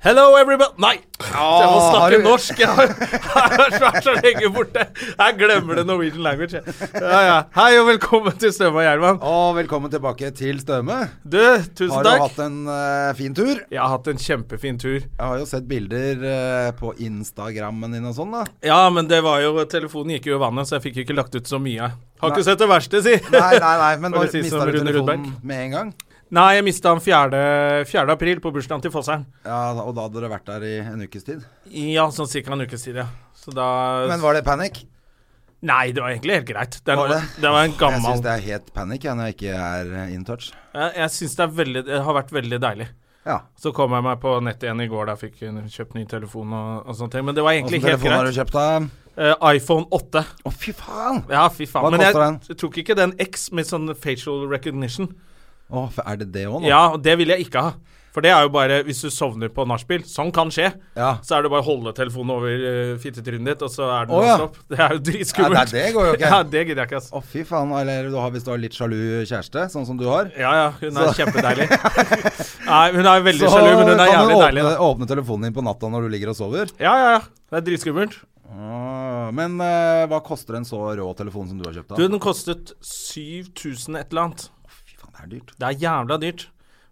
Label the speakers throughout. Speaker 1: Hello, everybody Nei! jeg må
Speaker 2: Ah, har
Speaker 1: snakke
Speaker 2: du-
Speaker 1: norsk. Jeg har, jeg har vært så lenge borte. Jeg glemmer det Norwegian language. jeg. Ja, ja. Hei og velkommen til Støme og Gjerman.
Speaker 2: Og velkommen tilbake til Støme.
Speaker 1: Du, tusen
Speaker 2: Har du
Speaker 1: takk.
Speaker 2: hatt en eh, fin tur? Jeg
Speaker 1: Jeg har hatt en kjempefin tur.
Speaker 2: har jo sett bilder eh, på Instagrammen din og sånn, da.
Speaker 1: Ja, men det var jo Telefonen gikk jo i vannet, så jeg fikk jo ikke lagt ut så mye. Har
Speaker 2: Nei.
Speaker 1: ikke sett det verste, si.
Speaker 2: Nei, nei, nei, men
Speaker 1: Var
Speaker 2: når
Speaker 1: det sist
Speaker 2: mista
Speaker 1: som
Speaker 2: du
Speaker 1: Rune
Speaker 2: telefonen
Speaker 1: Rudberg?
Speaker 2: med en gang?
Speaker 1: Nei, jeg mista den 4. 4. april, på bursdagen til Fossern.
Speaker 2: Ja, da- Og da hadde dere vært der i en ukes tid?
Speaker 1: Ja, sånn cirka en ukes tid, ja. Så da
Speaker 2: Men var det panikk?
Speaker 1: Nei, det var egentlig helt greit. Det, er
Speaker 2: Var
Speaker 1: noe-
Speaker 2: det?
Speaker 1: det var en
Speaker 2: Jeg
Speaker 1: gammel
Speaker 2: syns det er helt panikk jeg, når jeg ikke er eh, in touch.
Speaker 1: Jeg, jeg syns det, er veldig- det har vært veldig deilig.
Speaker 2: Ja.
Speaker 1: Så kom jeg meg på nettet igjen i går, da fikk jeg kjøpt ny telefon og, og sånne ting. Men det var egentlig
Speaker 2: Hvilken
Speaker 1: helt
Speaker 2: telefon har
Speaker 1: greit.
Speaker 2: du kjøpt, da?
Speaker 1: Eh, iPhone 8.
Speaker 2: Å, fy faen!
Speaker 1: Ja, fy faen.
Speaker 2: Hva
Speaker 1: Men jeg,
Speaker 2: koster
Speaker 1: jeg tok ikke den X med sånn facial recognition.
Speaker 2: Å, f- er det det òg, nå?
Speaker 1: Ja, og det vil jeg ikke ha. For det er jo bare hvis du sovner på nachspiel. Sånn kan skje.
Speaker 2: Ja.
Speaker 1: Så er det bare å holde telefonen over uh, fittetrynet ditt, og så er den
Speaker 2: Å, ja.
Speaker 1: låst opp. Det er jo dritskummelt.
Speaker 2: Nei, det går jo ikke.
Speaker 1: Ja, det gidder jeg ikke, altså. ass.
Speaker 2: Å, fy faen. Eller du har, hvis du har litt sjalu kjæreste, sånn som du har.
Speaker 1: Ja, ja, hun er kjempedeilig. Nei, hun er veldig sjalu, men hun er
Speaker 2: kan du
Speaker 1: jævlig deilig.
Speaker 2: åpne,
Speaker 1: Da.
Speaker 2: åpne telefonen din på natta når du ligger og sover.
Speaker 1: Ja, ja, ja. Det er dritskummelt.
Speaker 2: Ah, men eh, hva koster en så rå telefon som du har kjøpt? da?
Speaker 1: Du, den kostet 7000 et eller annet.
Speaker 2: Fy faen, det er dyrt.
Speaker 1: Det er jævla dyrt.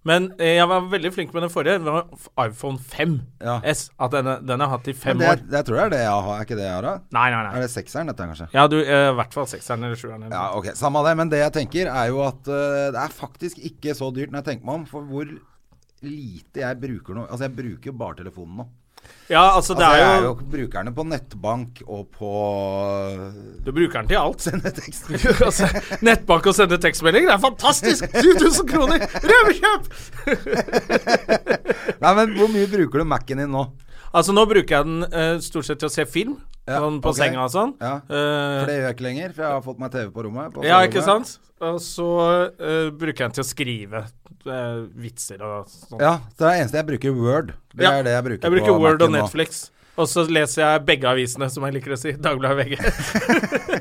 Speaker 1: Men eh, jeg var veldig flink med den forrige. Det var f- iPhone 5
Speaker 2: Ja.
Speaker 1: S. At denne, den har jeg hatt i fem
Speaker 2: Men det,
Speaker 1: år.
Speaker 2: det tror jeg er det jeg har. Er ikke det jeg har, da?
Speaker 1: Nei, nei, nei.
Speaker 2: Er det sekseren, dette, kanskje?
Speaker 1: Ja, du, eh, i hvert fall sekseren eller sjueren. eller
Speaker 2: Ja,
Speaker 1: noe.
Speaker 2: ok, Samme det, men det jeg tenker er jo at eh, det er faktisk ikke så dyrt når jeg tenker meg om, for hvor lite jeg bruker nå. Altså, jeg bruker jo bare telefonen nå.
Speaker 1: ja, altså, det
Speaker 2: Altså, jeg
Speaker 1: er
Speaker 2: er
Speaker 1: jo
Speaker 2: jo brukerne på nettbank og på
Speaker 1: Du bruker den til alt.
Speaker 2: denne teksten.
Speaker 1: altså, nettbank og sende tekstmeldinger, det er fantastisk! 7000 kroner! Røverkjøp!
Speaker 2: Nei, men hvor mye bruker du Mac-en din nå?
Speaker 1: Altså, nå bruker jeg den eh, stort sett til å se film.
Speaker 2: Ja,
Speaker 1: sånn på
Speaker 2: ok.
Speaker 1: senga og sånn.
Speaker 2: Ja,
Speaker 1: Eh,
Speaker 2: For det gjør jeg ikke lenger, for jeg har fått meg TV på rommet. På
Speaker 1: Ja,
Speaker 2: soverommet.
Speaker 1: ikke sant? Og så eh, bruker jeg den til å skrive eh, vitser og sånn.
Speaker 2: Ja, så det er det eneste jeg bruker Word. Det
Speaker 1: Ja,
Speaker 2: er det jeg bruker,
Speaker 1: Jeg bruker
Speaker 2: på
Speaker 1: Word og
Speaker 2: Mac-en nå.
Speaker 1: Netflix. Og så leser jeg begge avisene, som jeg liker å si. Dagbladet og VG.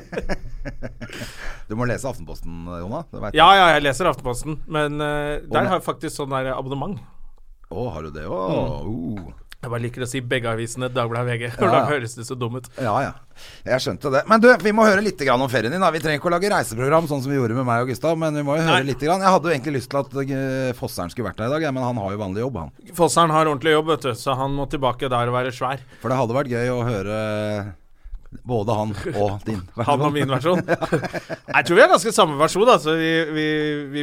Speaker 2: Du må lese Aftenposten, Jonna. Det vet jeg.
Speaker 1: Ja, ja, jeg leser Aftenposten, men eh,
Speaker 2: ne-
Speaker 1: der har jeg faktisk sånn der abonnement.
Speaker 2: Å, har du det? Å,
Speaker 1: Mm.
Speaker 2: uh.
Speaker 1: Jeg bare liker å si begge avisene, Dagbladet og VG. For
Speaker 2: Ja,
Speaker 1: da
Speaker 2: ja.
Speaker 1: høres det så dum ut.
Speaker 2: Ja, ja. Jeg skjønte det. Men du, vi må høre litt grann om ferien din. Da. Vi trenger ikke å lage reiseprogram sånn som vi gjorde med meg og Gustav, men vi må jo høre
Speaker 1: Nei.
Speaker 2: litt. Grann. Jeg hadde jo egentlig lyst til at eh, Fosseren skulle vært her i dag, ja, men han har jo vanlig jobb, han.
Speaker 1: Fosseren har ordentlig jobb, vet du, så han må tilbake der og være svær.
Speaker 2: For det hadde vært gøy å høre eh, både han og din.
Speaker 1: Han og min versjon. Jeg tror vi er ganske samme versjon, altså. Vi, vi,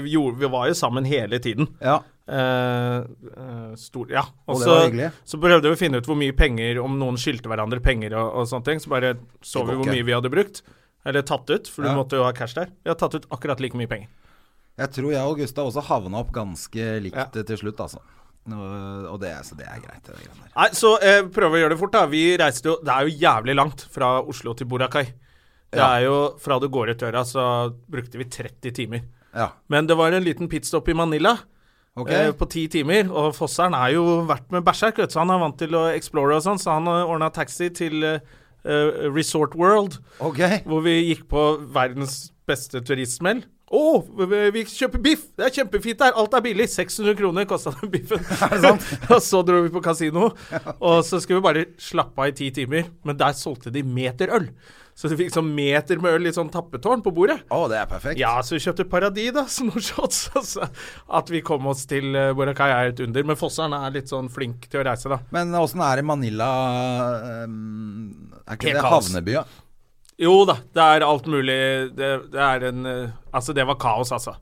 Speaker 1: vi, gjorde, vi var jo sammen hele tiden.
Speaker 2: Ja.
Speaker 1: Eh, eh, stor, ja. Og
Speaker 2: Og det
Speaker 1: så,
Speaker 2: var hyggelig.
Speaker 1: så prøvde vi å finne ut hvor mye penger, om noen skyldte hverandre penger og, og sånne ting. Så bare så
Speaker 2: Det
Speaker 1: vi
Speaker 2: går
Speaker 1: hvor
Speaker 2: ikke.
Speaker 1: mye vi hadde brukt. Eller tatt ut, for
Speaker 2: Ja.
Speaker 1: du måtte jo ha cash der. Vi har tatt ut akkurat like mye penger.
Speaker 2: Jeg tror jeg og Gustav også havna opp ganske likt
Speaker 1: Ja.
Speaker 2: til slutt, altså. Nå- Og det, er- så det er greit. Det er greit.
Speaker 1: Nei, Så eh, prøv å gjøre det fort, da. Vi reiste jo Det er jo jævlig langt fra Oslo til Boracay. Det
Speaker 2: Ja.
Speaker 1: er jo Fra du går ut døra, så brukte vi 30 timer.
Speaker 2: Ja,
Speaker 1: Men det var en liten pitstop i Manila.
Speaker 2: ok.
Speaker 1: eh, på ti timer. Og Fosseren er jo vært med Berserk, vet du, så han er vant til å explore og sånn. Så han ordna taxi til eh, eh, Resort World,
Speaker 2: Ok.
Speaker 1: hvor vi gikk på verdens beste turistsmell. Å, vi- vi kjøper biff! Det er kjempefint der, alt er billig. 600 kroner kosta den biffen. og så dro vi på kasino, og så skulle vi bare slappe av i ti timer. Men der solgte de meterøl. Så du fikk sånn meter med øl i sånn tappetårn på bordet.
Speaker 2: Å, det er perfekt.
Speaker 1: Ja, så vi kjøpte Paradidas noen shots. Altså. At vi kom oss til eh, Boracay er et under. Men Fosseren er litt sånn flink til å reise, da.
Speaker 2: Men åssen er det i Manila ehm, Er ikke
Speaker 1: Helt
Speaker 2: det
Speaker 1: kaos.
Speaker 2: havnebya?
Speaker 1: Jo da, det er alt mulig. Det, det er en eh, Altså, det var kaos, altså.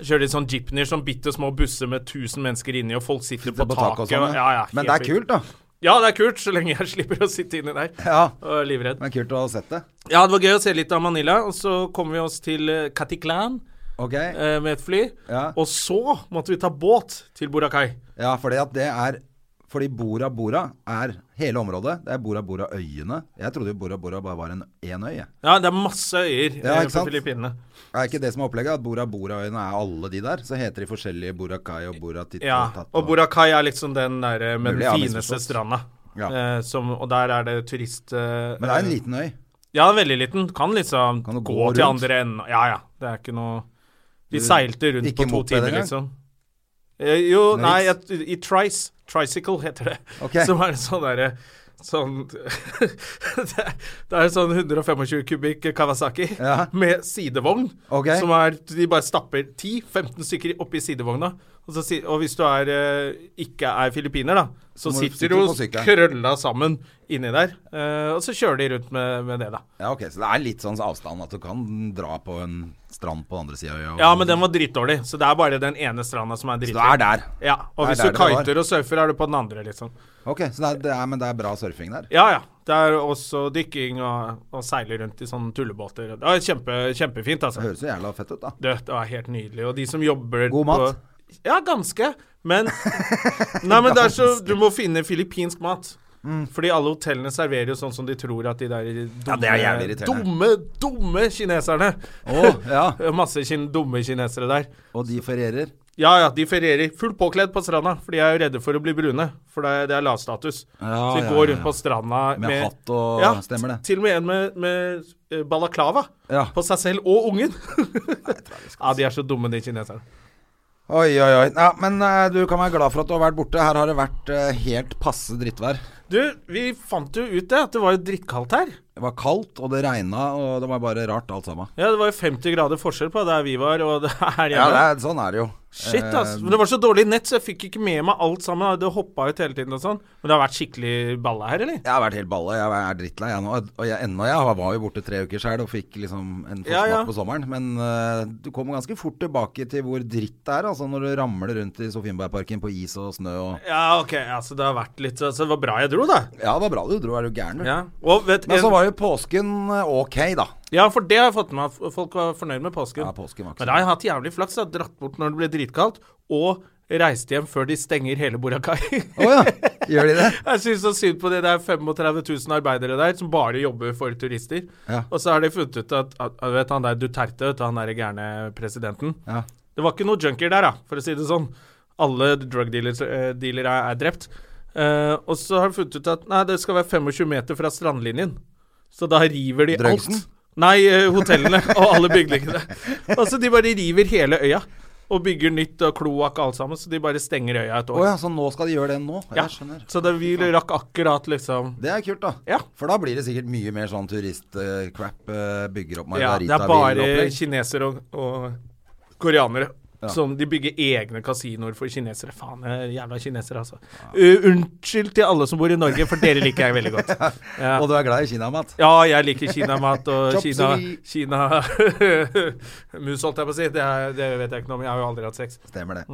Speaker 1: Kjører de sånn jeepneyer, sånn bitte små busser med 1000 mennesker inni, og folk sitter, på,
Speaker 2: På tak og
Speaker 1: taket.
Speaker 2: sånn,
Speaker 1: og-
Speaker 2: ja.
Speaker 1: ja, ja,
Speaker 2: Men det
Speaker 1: helt
Speaker 2: er
Speaker 1: vilt.
Speaker 2: kult, da.
Speaker 1: Ja, det er kult, så lenge jeg slipper å sitte inni der.
Speaker 2: Ja,
Speaker 1: Og er livredd.
Speaker 2: men kult å ha sett det.
Speaker 1: Ja, det var gøy å se litt av Manila. Og så kom vi oss til eh, Caticlan
Speaker 2: Ok.
Speaker 1: eh, med et fly.
Speaker 2: Ja,
Speaker 1: Og så måtte vi ta båt til Boracay.
Speaker 2: ja fordi at det er Fordi Bora Bora er hele området. Det er Bora Bora-øyene. Jeg trodde jo Bora Bora bare var en én øy. jeg.
Speaker 1: Ja, det er masse øyer
Speaker 2: Ja,
Speaker 1: eh,
Speaker 2: ikke
Speaker 1: på
Speaker 2: sant?
Speaker 1: Filippinene.
Speaker 2: Er ikke det som er opplegget? At Bora Bora-øyene er alle de der? Så heter de forskjellige Boracay og Boratit
Speaker 1: Ja, og Boracay er liksom den der med
Speaker 2: Mulig
Speaker 1: den
Speaker 2: jeg har
Speaker 1: fineste
Speaker 2: misforstått.
Speaker 1: stranda.
Speaker 2: Ja.
Speaker 1: Eh, som, og der er det turist... eh,
Speaker 2: Men det er en liten øy.
Speaker 1: Ja, veldig liten. Kan liksom
Speaker 2: Kan du
Speaker 1: gå,
Speaker 2: gå
Speaker 1: til
Speaker 2: rundt?
Speaker 1: andre enden. Ja, ja. Det er ikke noe Vi
Speaker 2: Du-
Speaker 1: seilte rundt
Speaker 2: ikke
Speaker 1: på to
Speaker 2: moped
Speaker 1: timer,
Speaker 2: engang?
Speaker 1: liksom. Eh, jo,
Speaker 2: Nice.
Speaker 1: nei, jeg, i Trice. Tricycle heter det.
Speaker 2: Ok.
Speaker 1: Som er en sånn derre Sånn Det er- det er en sånn 125 kubikk Kawasaki
Speaker 2: Ja.
Speaker 1: med sidevogn.
Speaker 2: Ok.
Speaker 1: Som er De bare stapper 10-15 stykker oppi sidevogna. Og, så, si- og hvis du er, eh, ikke er filippiner, da, så
Speaker 2: må du
Speaker 1: sitter
Speaker 2: sitte
Speaker 1: du
Speaker 2: på sykkelen.
Speaker 1: krølla sammen inni der. eh, og så kjører de rundt med, med det, da.
Speaker 2: Ja, ok, Så det er litt sånn avstand at du kan dra på en strand på den andre sida av øya. og-
Speaker 1: Ja, men den var dritdårlig, så det er bare den ene stranda som er
Speaker 2: Så
Speaker 1: dritdårlig.
Speaker 2: det er der.
Speaker 1: Ja, og
Speaker 2: Det
Speaker 1: hvis
Speaker 2: er
Speaker 1: du
Speaker 2: der det var.
Speaker 1: kiter og surfer, er du på den andre, liksom.
Speaker 2: Ok, så det er, det er, Men det er bra surfing der?
Speaker 1: Ja, ja. Det er også dykking og, og seile rundt i sånne tullebåter. Det var kjempe, kjempefint,
Speaker 2: Det
Speaker 1: altså.
Speaker 2: høres jo jævla fett ut, da.
Speaker 1: Det, det var helt nydelig. Og de som jobber
Speaker 2: God mat?
Speaker 1: På, ja, ganske. Men Nei, men det er så Du må finne filippinsk mat. Fordi alle hotellene serverer jo sånn som de tror at de der
Speaker 2: Mm. Ja,
Speaker 1: dumme,
Speaker 2: det er jævlig irriterende.
Speaker 1: dumme, dumme kineserne
Speaker 2: Å, ja.
Speaker 1: Masse kin dumme kinesere der.
Speaker 2: Og de ferierer?
Speaker 1: Ja, ja, de ferierer fullt påkledd på stranda, for de er jo redde for å bli brune. For det er, det er lavstatus.
Speaker 2: Ja,
Speaker 1: så de
Speaker 2: ja,
Speaker 1: går
Speaker 2: ja,
Speaker 1: rundt på stranda
Speaker 2: Med hatt og- stemmer det.
Speaker 1: Til og med en med, med eh, balaklava
Speaker 2: Ja.
Speaker 1: på seg selv og ungen. ja, de er så dumme, de kineserne.
Speaker 2: Oi, oi, oi. Ja, men eh, du kan være glad for at du har vært borte. Her har det vært eh, helt passe drittvær.
Speaker 1: Du, vi fant jo ut det, at det var jo drittkaldt her.
Speaker 2: Det var kaldt, og det regna, og det var bare rart alt sammen.
Speaker 1: Ja, det var jo 50 grader forskjell på der vi var og der her
Speaker 2: Ja,
Speaker 1: hjemme.
Speaker 2: det er, sånn er det jo.
Speaker 1: Shit, ass.
Speaker 2: Eh,
Speaker 1: Men det var så dårlig nett, så jeg fikk ikke med meg alt sammen. Det hoppa ut hele tiden og sånn. Men det har vært skikkelig balla her, eller?
Speaker 2: Jeg har vært helt balle. Jeg er drittlei, jeg nå. Og jeg, ennå jeg var jo borte tre uker sjøl og fikk liksom en forsmak
Speaker 1: Ja, ja.
Speaker 2: på sommeren. Men eh, du kommer ganske fort tilbake til hvor dritt det er, altså, når du ramler rundt i Sofienbergparken på is og snø og
Speaker 1: Ja, ok, altså det har vært litt Så det var bra jeg dro, da.
Speaker 2: Ja, det var bra du dro, er du gæren, du.
Speaker 1: Ja, og vet,
Speaker 2: Men så var jo påsken eh, ok, da.
Speaker 1: ja for det har jeg fått med meg. at Folk var fornøyd med påsken.
Speaker 2: Ja, påsken var ikke
Speaker 1: Men
Speaker 2: så
Speaker 1: da har jeg hatt jævlig flaks. Jeg har dratt bort når det ble dritkaldt, og reiste hjem før de stenger hele Boracay.
Speaker 2: Å ja, gjør de det?
Speaker 1: Jeg syns så synd på de der 35 000 arbeidere der som bare jobber for turister.
Speaker 2: Ja.
Speaker 1: Og så har de funnet ut at, at at vet, han der Duterte, vet, du, han der gærne presidenten
Speaker 2: Ja.
Speaker 1: Det var ikke noe junkier der, da, for å si det sånn. Alle drug dealers, eh, dealere er, er drept. Eh, og så har de funnet ut at nei, det skal være 25 meter fra strandlinjen. Så da river de
Speaker 2: Drugsen?
Speaker 1: alt. Nei, eh, hotellene og alle bygningene. Altså, de bare river hele øya. Og bygger nytt og kloakk og alt sammen, så de bare stenger øya et
Speaker 2: Å
Speaker 1: år.
Speaker 2: ja, så nå skal de gjøre det nå?
Speaker 1: Ja,
Speaker 2: Jeg skjønner.
Speaker 1: Så det, vi rakk akkurat liksom
Speaker 2: Det er kult, da.
Speaker 1: Ja.
Speaker 2: For da blir det sikkert mye mer sånn turistcrap. eh, bygger opp
Speaker 1: Ja, det er
Speaker 2: margaritabiler
Speaker 1: bare
Speaker 2: og opplegg.
Speaker 1: kinesere og, og koreanere. Som de bygger egne kasinoer for kinesere. Faen, eh, jævla kinesere, altså. Uh, unnskyld til alle som bor i Norge, for dere liker jeg veldig godt. Ja,
Speaker 2: Og du er glad i kinamat?
Speaker 1: ja jeg liker kinamat og
Speaker 2: Chop
Speaker 1: Kina,
Speaker 2: suey.
Speaker 1: Kina Mus, holdt jeg på å si. Det, er, det vet jeg ikke noe om. Jeg har jo aldri hatt sex.
Speaker 2: Stemmer det.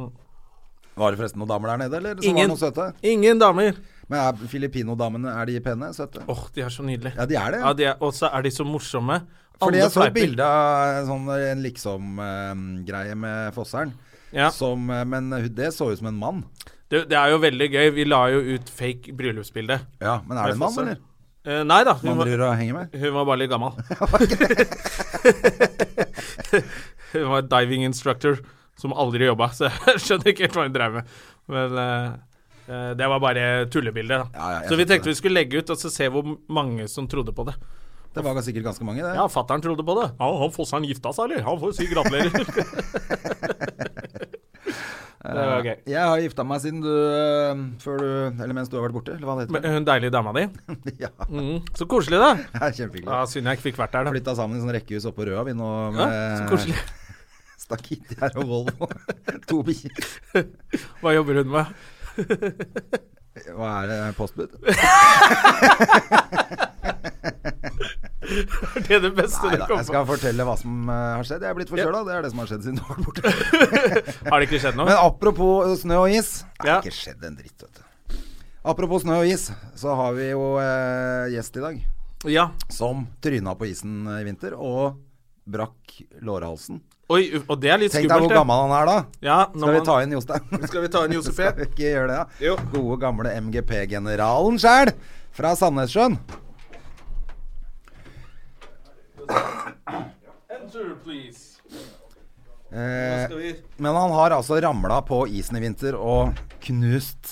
Speaker 2: Var det forresten noen damer der nede, eller? Som
Speaker 1: Mm. Ingen.
Speaker 2: var noen søte?
Speaker 1: Ingen damer.
Speaker 2: Men er filippinodamene, er de pene? Søte?
Speaker 1: Åh, de er så nydelige.
Speaker 2: Ja, de er det.
Speaker 1: Ja, de er- og så er de så morsomme.
Speaker 2: Fordi
Speaker 1: Alle
Speaker 2: jeg så et
Speaker 1: fleiper.
Speaker 2: bilde av en sånn, en liksom-greie med Fosseren.
Speaker 1: Ja.
Speaker 2: Som, eh, men det så ut som en mann.
Speaker 1: Det, det er jo veldig gøy. Vi la jo ut fake bryllupsbilde.
Speaker 2: Ja, Men er det en mann, eller?
Speaker 1: Eh, nei da. Hun
Speaker 2: Man
Speaker 1: var,
Speaker 2: driver og henger med?
Speaker 1: hun var bare litt gammel. hun var diving instructor som aldri jobba, så jeg skjønner ikke helt hva hun drev med. Men eh, eh, det var bare tullebilde. da.
Speaker 2: Ja, ja, jeg
Speaker 1: så vi
Speaker 2: skjønte
Speaker 1: tenkte vi skulle legge ut og så se hvor mange som trodde på det.
Speaker 2: Det var sikkert ganske mange, det.
Speaker 1: Ja, fattern trodde på det. Ja, han Fosseren gifta seg, eller? Han får si gratulerer. det var gøy.
Speaker 2: Jeg har gifta meg siden du eh, Før du Eller mens du har vært borte, eller hva det
Speaker 1: Men
Speaker 2: heter.
Speaker 1: Hun deilige dama di.
Speaker 2: ja,
Speaker 1: Mm, så koselig, da.
Speaker 2: det er kjempehyggelig.
Speaker 1: Ja, Synd jeg ikke fikk vært der, da.
Speaker 2: Flytta sammen i sånn rekkehus oppe på Røa, vi nå.
Speaker 1: Ja, så koselig.
Speaker 2: eh, Stakittgjær og Volvo. to biler.
Speaker 1: Hva jobber hun med?
Speaker 2: Hva er det? Postbud?
Speaker 1: Det er det beste du
Speaker 2: Neida,
Speaker 1: kom på.
Speaker 2: jeg skal fortelle hva som eh, har skjedd. Jeg er blitt forkjøla, det er det som har skjedd siden du var borte.
Speaker 1: Har det ikke skjedd noe?
Speaker 2: Men apropos eh, snø og is. Det
Speaker 1: Ja.
Speaker 2: har ikke skjedd en dritt, vet du. Apropos snø og is, så har vi jo eh, gjest i dag
Speaker 1: Ja.
Speaker 2: som tryna på isen eh, i vinter og brakk lårhalsen.
Speaker 1: Oi, og det er litt
Speaker 2: Tenk deg
Speaker 1: skummelt.
Speaker 2: hvor
Speaker 1: det.
Speaker 2: gammel han er da.
Speaker 1: Ja,
Speaker 2: Skal vi ta inn Jostein?
Speaker 1: Skal vi ta inn Josefin?
Speaker 2: Skal vi ikke gjøre det, da?
Speaker 1: Jo.
Speaker 2: Gode gamle MGP-generalen sjæl, fra Sandnessjøen.
Speaker 1: Enter, please.
Speaker 2: Eh,
Speaker 1: Skal vi
Speaker 2: men han har altså ramla på isen i vinter og knust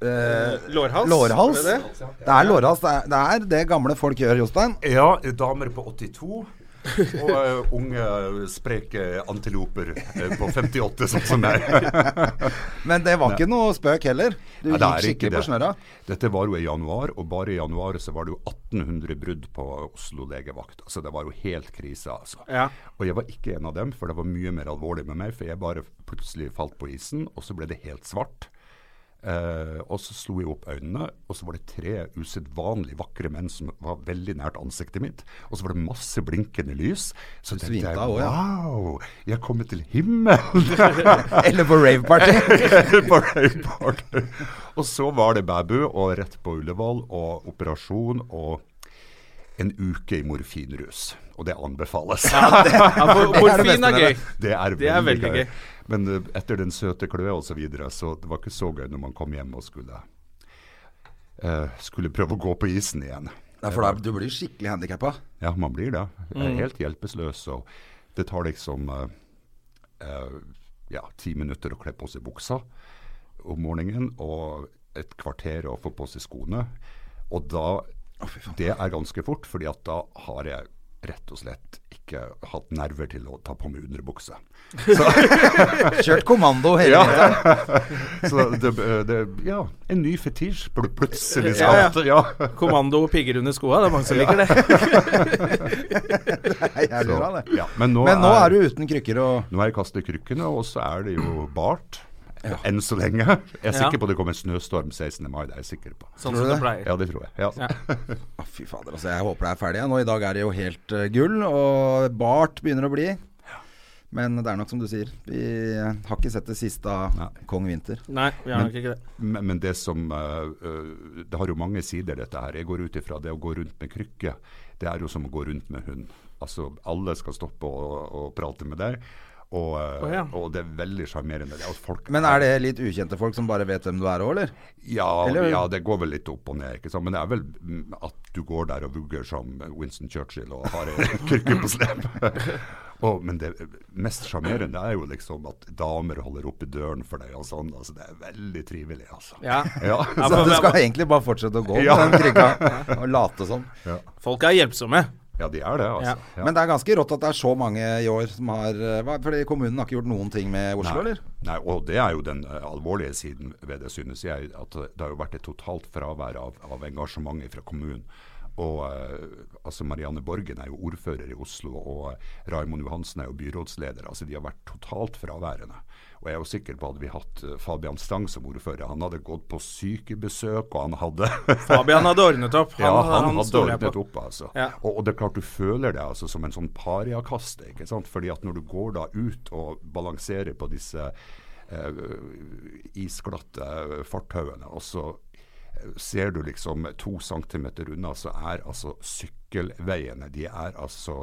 Speaker 2: eh,
Speaker 1: Lårhals?
Speaker 2: lårhals.
Speaker 1: Er
Speaker 2: Det,
Speaker 1: det det?
Speaker 2: er lårhals. Det er, det er det gamle folk gjør, Jostein.
Speaker 3: Ja, damer på 82. Og eh, unge, spreke antiloper eh, på 58, sånn som meg.
Speaker 2: Men det var ikke noe spøk heller. Du gikk
Speaker 3: Nei, det er ikke
Speaker 2: skikkelig på
Speaker 3: det.
Speaker 2: snørra.
Speaker 3: Dette var jo i januar, og bare i januar så var det jo 1800 brudd på Oslo legevakt. Altså det var jo helt krise, altså.
Speaker 1: Ja.
Speaker 3: Og jeg var ikke en av dem, for det var mye mer alvorlig med meg. For jeg bare plutselig falt på isen, og så ble det helt svart. Eh, og så slo jeg opp øynene, og så var det tre usedvanlig vakre menn som var veldig nært ansiktet mitt. Og så var det masse blinkende lys. Så tenkte
Speaker 2: svimte
Speaker 3: jeg
Speaker 2: av også, ja.
Speaker 3: wow, jeg er kommet til himmelen!
Speaker 2: Eller på raveparty.
Speaker 3: på Røyparty. Og så var det babu, og rett på Ullevål, og operasjon, og en uke i morfinrus. Og det anbefales.
Speaker 1: Ja, for morfin er gøy.
Speaker 3: Det er veldig,
Speaker 1: Det er veldig
Speaker 3: gøy.
Speaker 1: gøy.
Speaker 3: Men eh, etter den søte kløe og så videre, så det var ikke så gøy når man kom hjem og skulle eh, skulle prøve å gå på isen igjen.
Speaker 2: Nei, for da, du blir skikkelig handikappa.
Speaker 3: Ja, man blir det. Jeg
Speaker 2: Mm.
Speaker 3: er helt hjelpeløs. Og det tar liksom eh, eh, ja, ti minutter å kle på seg buksa om morgenen, og et kvarter å få på seg skoene. Og da Det er ganske fort, fordi at da har jeg rett og slett ikke hatt nerver til å ta på meg underbukse.
Speaker 2: Kjørt kommando hele tiden.
Speaker 3: Så det, eh, det Ja, en ny fetisj pl plutselig.
Speaker 1: Ja, ja.
Speaker 3: sant? ja.
Speaker 1: Kommando og pigger under skoa, det er mange som liker det.
Speaker 2: Nei, jeg lurer, det.
Speaker 3: Ja, eh, men nå
Speaker 2: Men nå
Speaker 3: er-
Speaker 2: er du uten krykker og
Speaker 3: Nå er jeg kastet krykkene, og så er det jo bart. Enn så lenge. Jeg er
Speaker 1: Ja.
Speaker 3: sikker på det kommer en snøstorm 16. mai, det er jeg sikker på.
Speaker 1: Sånn som det pleier.
Speaker 3: Ja, det tror jeg. Ja.
Speaker 2: Å, Fy fader, altså. Jeg håper det er ferdig. jeg. Nå I dag er det jo helt eh, gull, og bart begynner å bli. Men det er nok som du sier. Vi eh, har ikke sett det siste av
Speaker 3: Nei.
Speaker 2: kong Vinter.
Speaker 1: Nei, vi har nok ikke det.
Speaker 3: Men, men det som eh, eh, Det har jo mange sider, dette her. Jeg går ut ifra det å gå rundt med krykke. Det er jo som å gå rundt med hund. Altså, alle skal stoppe og, og prate med deg. Og, eh,
Speaker 1: Å, ja.
Speaker 3: og det er veldig sjarmerende. det. Og folk
Speaker 2: Men er det litt ukjente folk som bare vet hvem du er òg, eller?
Speaker 3: Ja,
Speaker 2: Eller-
Speaker 3: ja, det går vel litt opp og ned. ikke sant? Men det er vel mm, at du går der og vugger som Winston Churchill og har en krykke på slep. Og, men det mest sjarmerende er jo liksom at damer holder oppe døren for deg og sånn. altså Det er veldig trivelig, altså.
Speaker 1: Ja.
Speaker 3: Ja,
Speaker 1: Ja,
Speaker 2: Så
Speaker 1: men-
Speaker 2: du skal egentlig bare fortsette å gå med
Speaker 3: Ja.
Speaker 2: den krykka og late som.
Speaker 1: Folk er hjelpsomme.
Speaker 3: ja de er det, altså. Ja.
Speaker 2: Men det er ganske rått at det er så mange i år som har eh, hva- Fordi kommunen har ikke gjort noen ting med Oslo,
Speaker 3: Nei.
Speaker 2: eller?
Speaker 3: Nei, og det er jo den eh, alvorlige siden ved det, synes jeg. At det har jo vært et totalt fravær av, av engasjement fra kommunen. Og eh, altså Marianne Borgen er jo ordfører i Oslo, og eh, Raimond Johansen er jo byrådsleder. altså De har vært totalt fraværende. Og jeg er jo sikker på hadde vi hatt eh, Fabian Stang som ordfører, han hadde gått på sykebesøk, og han hadde
Speaker 1: Fabian hadde ordnet opp.
Speaker 3: ja, han, hadde
Speaker 1: stoler jeg
Speaker 3: ordnet
Speaker 1: på.
Speaker 3: opp, altså.
Speaker 1: Ja.
Speaker 3: Og, og det er klart du føler det altså, som en sånn pariakaste. ikke sant? Fordi at når du går da ut og balanserer på disse eh, isglatte eh, fortauene, og så eh, ser du liksom to centimeter unna, så er altså sykkelveiene De er altså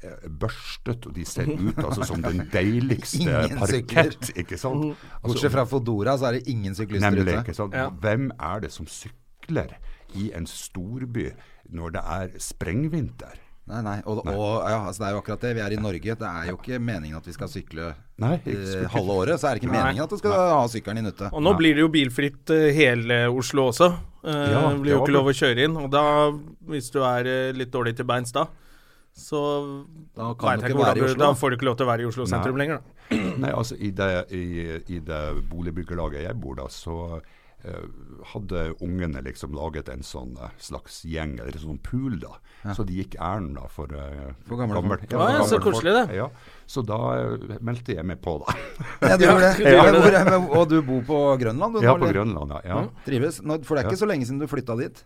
Speaker 3: eh, børstet, og de ser ut altså som den deiligste
Speaker 2: Ingen
Speaker 3: parkett, ikke
Speaker 1: Mm.
Speaker 3: sant? Altså,
Speaker 2: Bortsett fra Fodora, så er det ingen syklister
Speaker 3: Nemlig,
Speaker 2: ute.
Speaker 3: ikke sant? Hvem er det som sykler i en storby når det er sprengvinter?
Speaker 2: Nei, nei. Og, og ja, altså det er jo akkurat det. Vi er i Norge. Det er jo ikke meningen at vi skal sykle
Speaker 3: Nei, ikke
Speaker 2: eh,
Speaker 3: sykle.
Speaker 2: halve året. Så er det ikke meningen at du skal ha sykkelen i nøttet.
Speaker 1: Og nå blir det jo bilfritt eh, hele Oslo også. Eh,
Speaker 3: Ja,
Speaker 1: det blir jo
Speaker 3: det var
Speaker 1: ikke lov å kjøre inn. Og da, hvis du er eh, litt dårlig til beins da, så
Speaker 2: Da kan
Speaker 1: vet
Speaker 2: du
Speaker 1: jeg
Speaker 2: ikke
Speaker 1: hvordan
Speaker 2: være i
Speaker 1: du-
Speaker 2: Oslo.
Speaker 1: Da får du ikke lov til å være i Oslo sentrum
Speaker 3: Nei.
Speaker 1: lenger, da.
Speaker 3: Nei, altså I det, i, i det boligbyggelaget jeg bor da, så eh, hadde ungene liksom laget en sånn eh, slags gjeng, eller sånn pool, da. Så de gikk ærend da for, eh,
Speaker 2: For gamle folk.
Speaker 1: Å, ja,
Speaker 3: ja, for
Speaker 1: så
Speaker 3: gamle folk.
Speaker 1: koselig, det.
Speaker 3: Ja, så da eh, meldte jeg meg på, da.
Speaker 2: Ja, du gjorde det.
Speaker 1: Ja, du
Speaker 2: Men hvor, men, og du bor på Grønland? Du, nå,
Speaker 3: ja, på
Speaker 2: eller?
Speaker 3: Grønland, ja. ja.
Speaker 2: Trives? Nå, for det er ikke så lenge siden du flytta dit?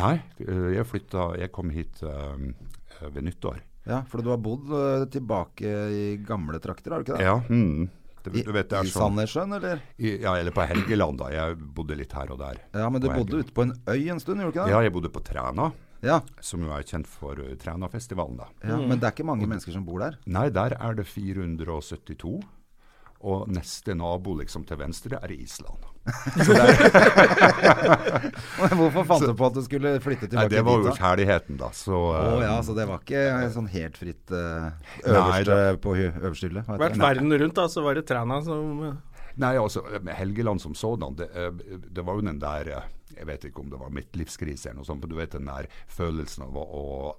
Speaker 3: Nei, eh, jeg flytta Jeg kom hit eh, ved nyttår.
Speaker 2: Ja, for du har bodd eh, tilbake i gamle trakter, har du ikke det?
Speaker 3: Ja. Mm. Det,
Speaker 2: I,
Speaker 3: du vet, det er
Speaker 2: i
Speaker 3: sånn
Speaker 2: Sandnessjøen, eller?
Speaker 3: I- Ja, eller på Helgeland, da. Jeg bodde litt her og der.
Speaker 2: Ja, men du
Speaker 3: På
Speaker 2: bodde
Speaker 3: Helgeland.
Speaker 2: ute på en øy en stund, gjorde du ikke det?
Speaker 3: Ja, jeg bodde på Træna.
Speaker 2: Ja,
Speaker 3: som jo er kjent for eh, Trænafestivalen, da.
Speaker 2: ja Men det er ikke
Speaker 3: Mm.
Speaker 2: mange mennesker som bor der.
Speaker 3: Nei, der er det 472. Og neste nabo liksom til venstre er Island.
Speaker 2: Hvorfor fant du på at du skulle flytte
Speaker 3: Nei,
Speaker 2: tilbake
Speaker 3: det var jo
Speaker 2: dit? da?
Speaker 3: kjærligheten, da. Så
Speaker 2: Å
Speaker 3: eh,
Speaker 2: ja, så det var ikke sånn helt fritt eh,
Speaker 3: Nei,
Speaker 2: øverste på hy- øverste hylle? hva heter
Speaker 1: Vært
Speaker 2: det?
Speaker 1: verden rundt, da, så var det Træna som eh,
Speaker 3: Nei, altså, med Helgeland som sådan, det, eh, det var jo den der eh, Jeg vet ikke om det var midtlivskrise eller noe sånt, men du vet den der følelsen av å, å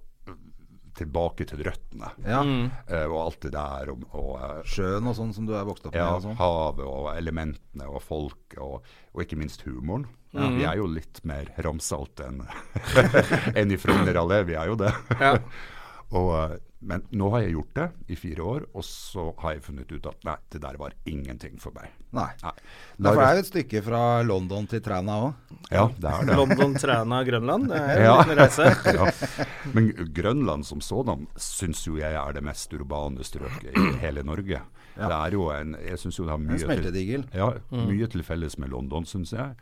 Speaker 3: tilbake til røttene.
Speaker 2: Ja.
Speaker 1: Mm.
Speaker 3: eh, Og alt det der og, og eh,
Speaker 2: Sjøen og sånn som du er vokst opp med?
Speaker 3: Ja,
Speaker 2: og sånn.
Speaker 3: havet og elementene og folk, og, og ikke minst humoren. Vi er jo litt mer ramsalte enn enn i Frogner allé, vi er jo det. og, eh, men nå har jeg gjort det i fire år, og så har jeg funnet ut at nei, det der var ingenting for meg.
Speaker 2: Nei.
Speaker 3: Nei.
Speaker 2: Nei, for det er jo et stykke fra London til Træna òg.
Speaker 3: Ja, det er det.
Speaker 1: London, Træna, Grønland. Det er en
Speaker 3: Ja.
Speaker 1: liten reise.
Speaker 3: ja. Men Grønland som sådan syns jo jeg er det mest urbane strøket i hele Norge. Det er jo en Jeg syns jo det har mye
Speaker 2: smeltedigel.
Speaker 3: ja, mye til felles med London, syns jeg.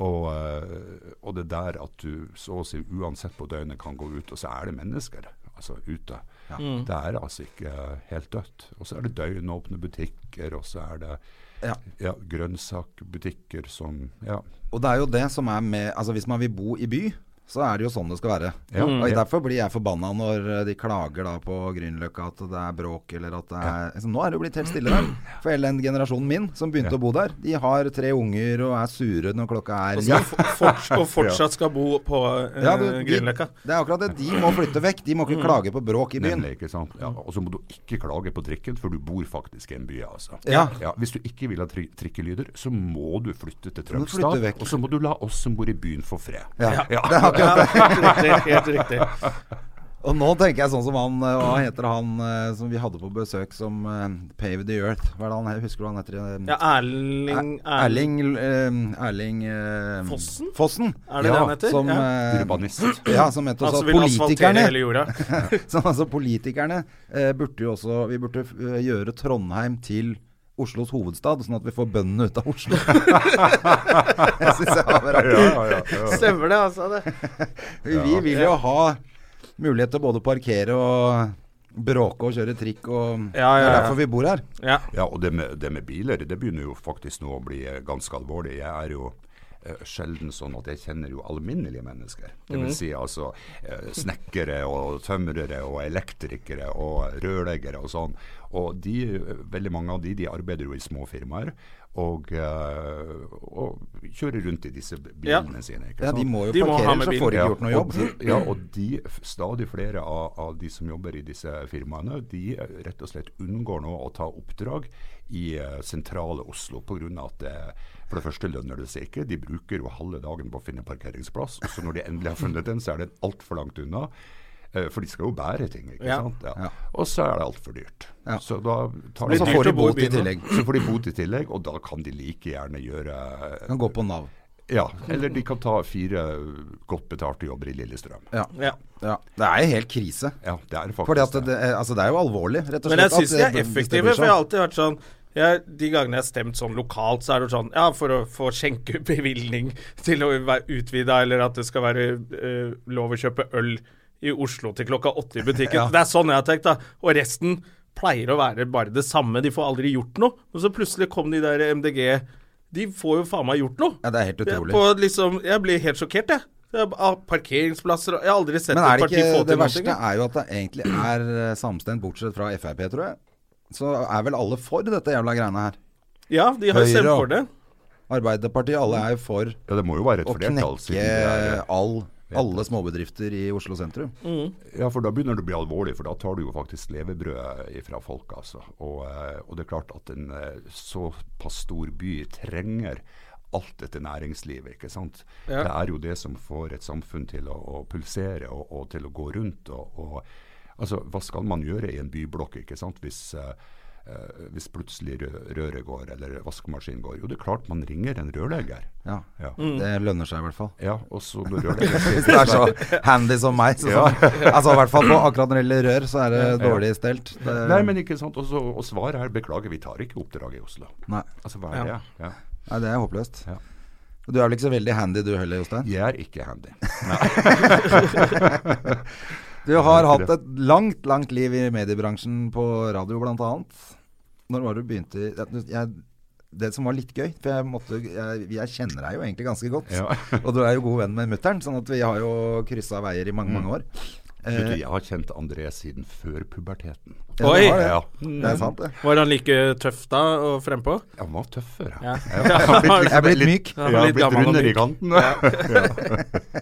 Speaker 3: Og, eh, og det der at du så å si uansett på døgnet kan gå ut, og så er det mennesker altså ute. Det er altså ikke eh, helt dødt. Og så er det døgnåpne butikker, og så er det
Speaker 2: Ja.
Speaker 3: ja, grønnsakbutikker som Ja.
Speaker 2: Og det er jo det som er med Altså hvis man vil bo i by, så er det jo sånn det skal være.
Speaker 3: Ja.
Speaker 1: Mm.
Speaker 2: Og Derfor blir jeg forbanna når eh, de klager da på Grünerløkka at det er bråk eller at det er altså, Nå er det jo blitt helt stille der. For hele den generasjonen min som begynte å bo der, de har tre unger og er sure når klokka er
Speaker 1: Og
Speaker 2: ni.
Speaker 1: så for- for- og fortsatt skal bo på eh,
Speaker 2: Ja, du, de,
Speaker 1: Grünerløkka.
Speaker 2: det er akkurat det. De må flytte vekk. De må ikke
Speaker 1: Mm.
Speaker 2: klage på bråk i byen.
Speaker 3: Nemlig, ikke sant? Ja, og så må du ikke klage på trikken, for du bor faktisk i en by. Altså.
Speaker 2: Ja.
Speaker 3: hvis du ikke vil ha tri trikkelyder, så må du flytte til
Speaker 2: må flytte
Speaker 3: Trømstad.
Speaker 2: vekk.
Speaker 3: og så må du la oss som bor i byen få fred.
Speaker 2: Ja.
Speaker 3: Ja.
Speaker 2: Det er akkurat
Speaker 1: Ja, riktig, helt riktig.
Speaker 2: Og nå tenker jeg sånn som han eh, Hva heter han eh, som vi hadde på besøk som eh, Paved the Earth? Hva er det han he- Husker du hva han heter? Eh,
Speaker 1: Ja, Erling,
Speaker 2: Er- Erling eh, Erling eh,
Speaker 1: Fossen?
Speaker 2: Fossen.
Speaker 1: Er det det han heter?
Speaker 2: Som,
Speaker 1: Ja.
Speaker 2: eh,
Speaker 3: Urbanist.
Speaker 2: Ja, som het
Speaker 1: Han
Speaker 2: også
Speaker 1: som
Speaker 2: at
Speaker 1: vil asfaltere hele
Speaker 2: politikerne
Speaker 1: jorda.
Speaker 2: så, altså, Politikerne eh, burde jo også Vi burde eh, gjøre Trondheim til Oslos hovedstad, sånn at vi får bøndene ut av Oslo. jeg synes jeg har vært-
Speaker 3: Ja, ja, ja.
Speaker 1: Stemmer det, altså. det
Speaker 2: Vi vil jo ha mulighet til både å parkere og bråke og kjøre trikk og
Speaker 1: Ja, ja,
Speaker 2: Det er
Speaker 1: ja.
Speaker 2: derfor vi bor her.
Speaker 1: Ja.
Speaker 3: Ja, og det med, det med biler, det begynner jo faktisk nå å bli eh, ganske alvorlig. Jeg er jo eh, sjelden sånn at jeg kjenner jo alminnelige mennesker. Det vil si altså eh, snekkere og tømrere og elektrikere og rørleggere og sånn. Og de, eh, veldig mange av de, de arbeider jo i små firmaer. Og, eh, og kjører rundt i disse
Speaker 1: Ja.
Speaker 3: bilene sine. Ikke
Speaker 2: Ja, de
Speaker 3: sant?
Speaker 2: må jo
Speaker 1: De må
Speaker 2: parkere,
Speaker 1: ha med
Speaker 2: så
Speaker 1: bil.
Speaker 2: får de
Speaker 3: Ja,
Speaker 2: ikke gjort noe
Speaker 3: og
Speaker 2: jobb.
Speaker 3: de- Ja, og de, f- stadig flere av, av de som jobber i disse firmaene, de eh, rett og slett unngår nå å ta oppdrag i eh, sentrale Oslo pga. at det, for det første lønner det seg ikke. De bruker jo halve dagen på å finne parkeringsplass. Og så når de endelig har funnet den, så er den altfor langt unna. Eh, For de skal jo bære ting, ikke
Speaker 1: Ja.
Speaker 3: sant.
Speaker 2: Ja.
Speaker 3: Ja. Og så er det altfor dyrt.
Speaker 2: Ja.
Speaker 3: Så da tar
Speaker 2: Og
Speaker 3: de
Speaker 2: så
Speaker 1: dyrt
Speaker 2: får de
Speaker 1: å bo i
Speaker 2: bot i
Speaker 1: byen, da.
Speaker 2: tillegg.
Speaker 3: så får de bot i tillegg, og da kan de like gjerne gjøre eh,
Speaker 2: Kan gå på Nav.
Speaker 3: Ja, eller de kan ta fire godt betalte jobber i Lillestrøm.
Speaker 2: Ja.
Speaker 1: Ja.
Speaker 2: Ja. Det er jo helt krise.
Speaker 3: Ja, det er faktisk
Speaker 2: Fordi at det, det- altså, det er jo alvorlig, rett og slett.
Speaker 1: Men jeg syns de
Speaker 2: at,
Speaker 1: er
Speaker 2: eh, hvis det blir
Speaker 1: effektive, for jeg har
Speaker 2: sånn.
Speaker 1: alltid vært sånn jeg, De gangene jeg har stemt sånn lokalt, så er det sånn Ja, for å få skjenkebevilgning til å være utvida, eller at det skal være eh, lov å kjøpe øl i Oslo til klokka åtte i butikken. Det er sånn jeg har tenkt, da. Og resten pleier å være bare det samme. De får aldri gjort noe. Og så plutselig kom de der MDG De får jo faen meg gjort noe.
Speaker 2: Ja, det er helt utrolig.
Speaker 1: På liksom, jeg blir helt sjokkert, jeg. Det er Av parkeringsplasser og Jeg har aldri sett
Speaker 2: Men
Speaker 1: et
Speaker 2: er det
Speaker 1: parti få
Speaker 2: ikke
Speaker 1: til
Speaker 2: Det
Speaker 1: noe.
Speaker 2: verste er jo at det egentlig er eh, samstemt, bortsett fra Frp, tror jeg. Så er vel alle for dette jævla greiene her.
Speaker 1: Ja, de har jo
Speaker 2: Høyre
Speaker 1: stemt
Speaker 2: og-
Speaker 1: for det.
Speaker 2: Arbeiderpartiet, alle er jo for
Speaker 3: Ja, det må jo være et
Speaker 2: å
Speaker 3: flertall. siden
Speaker 2: knekke eh,
Speaker 3: det er-
Speaker 2: all, alle småbedrifter i Oslo sentrum.
Speaker 3: Ja, for da begynner det å bli alvorlig, for da tar du jo faktisk levebrødet fra folk, altså. Og, eh, og det er klart at en eh, såpass stor by trenger alt dette næringslivet, ikke sant. Det er jo det som får et samfunn til å, å pulsere og, og til å gå rundt. Og, og, altså, hva skal man gjøre i en byblokk, ikke sant, hvis eh, eh, hvis plutselig rø- røret går, eller vaskemaskinen går. Jo, det er klart man ringer en rørlegger.
Speaker 2: Ja.
Speaker 3: Ja.
Speaker 2: Det lønner seg i hvert fall.
Speaker 3: Ja, og så når rørlegger
Speaker 2: Hvis det er så handy som meg. Så sånn. altså, I hvert fall på akkurat når det gjelder rør, så er det dårlig stelt. Det,
Speaker 3: Nei, men ikke sant. Og, så, og svaret her beklager, vi tar ikke oppdraget i Oslo.
Speaker 2: nei.
Speaker 3: Altså, hva er det? Ja.
Speaker 2: Nei, det er håpløst.
Speaker 3: Ja.
Speaker 2: Du er vel ikke så veldig handy du heller, Jostein?
Speaker 3: Jeg er ikke handy.
Speaker 2: Du har hatt et langt, langt liv i mediebransjen på radio bl.a. Når var det du begynte jeg, jeg, Det som var litt gøy For jeg, måtte, jeg, jeg kjenner deg jo egentlig ganske godt.
Speaker 3: Ja.
Speaker 2: og du er jo god venn med mutter'n, sånn at vi har jo kryssa veier i mange,
Speaker 3: Mm.
Speaker 2: mange år.
Speaker 3: Vet du, jeg har kjent André siden før puberteten.
Speaker 2: Ja,
Speaker 1: Oi!
Speaker 2: det var det.
Speaker 3: Ja.
Speaker 2: Det er sant, det.
Speaker 1: Var han like tøff da og frempå?
Speaker 3: Han var tøffere.
Speaker 1: Ja.
Speaker 3: Jeg har blitt,
Speaker 2: Jeg er blitt myk.
Speaker 1: Ja,
Speaker 3: jeg har
Speaker 1: litt
Speaker 3: blitt
Speaker 1: gammel og
Speaker 3: rundere i
Speaker 1: myk.
Speaker 3: kanten. Ja.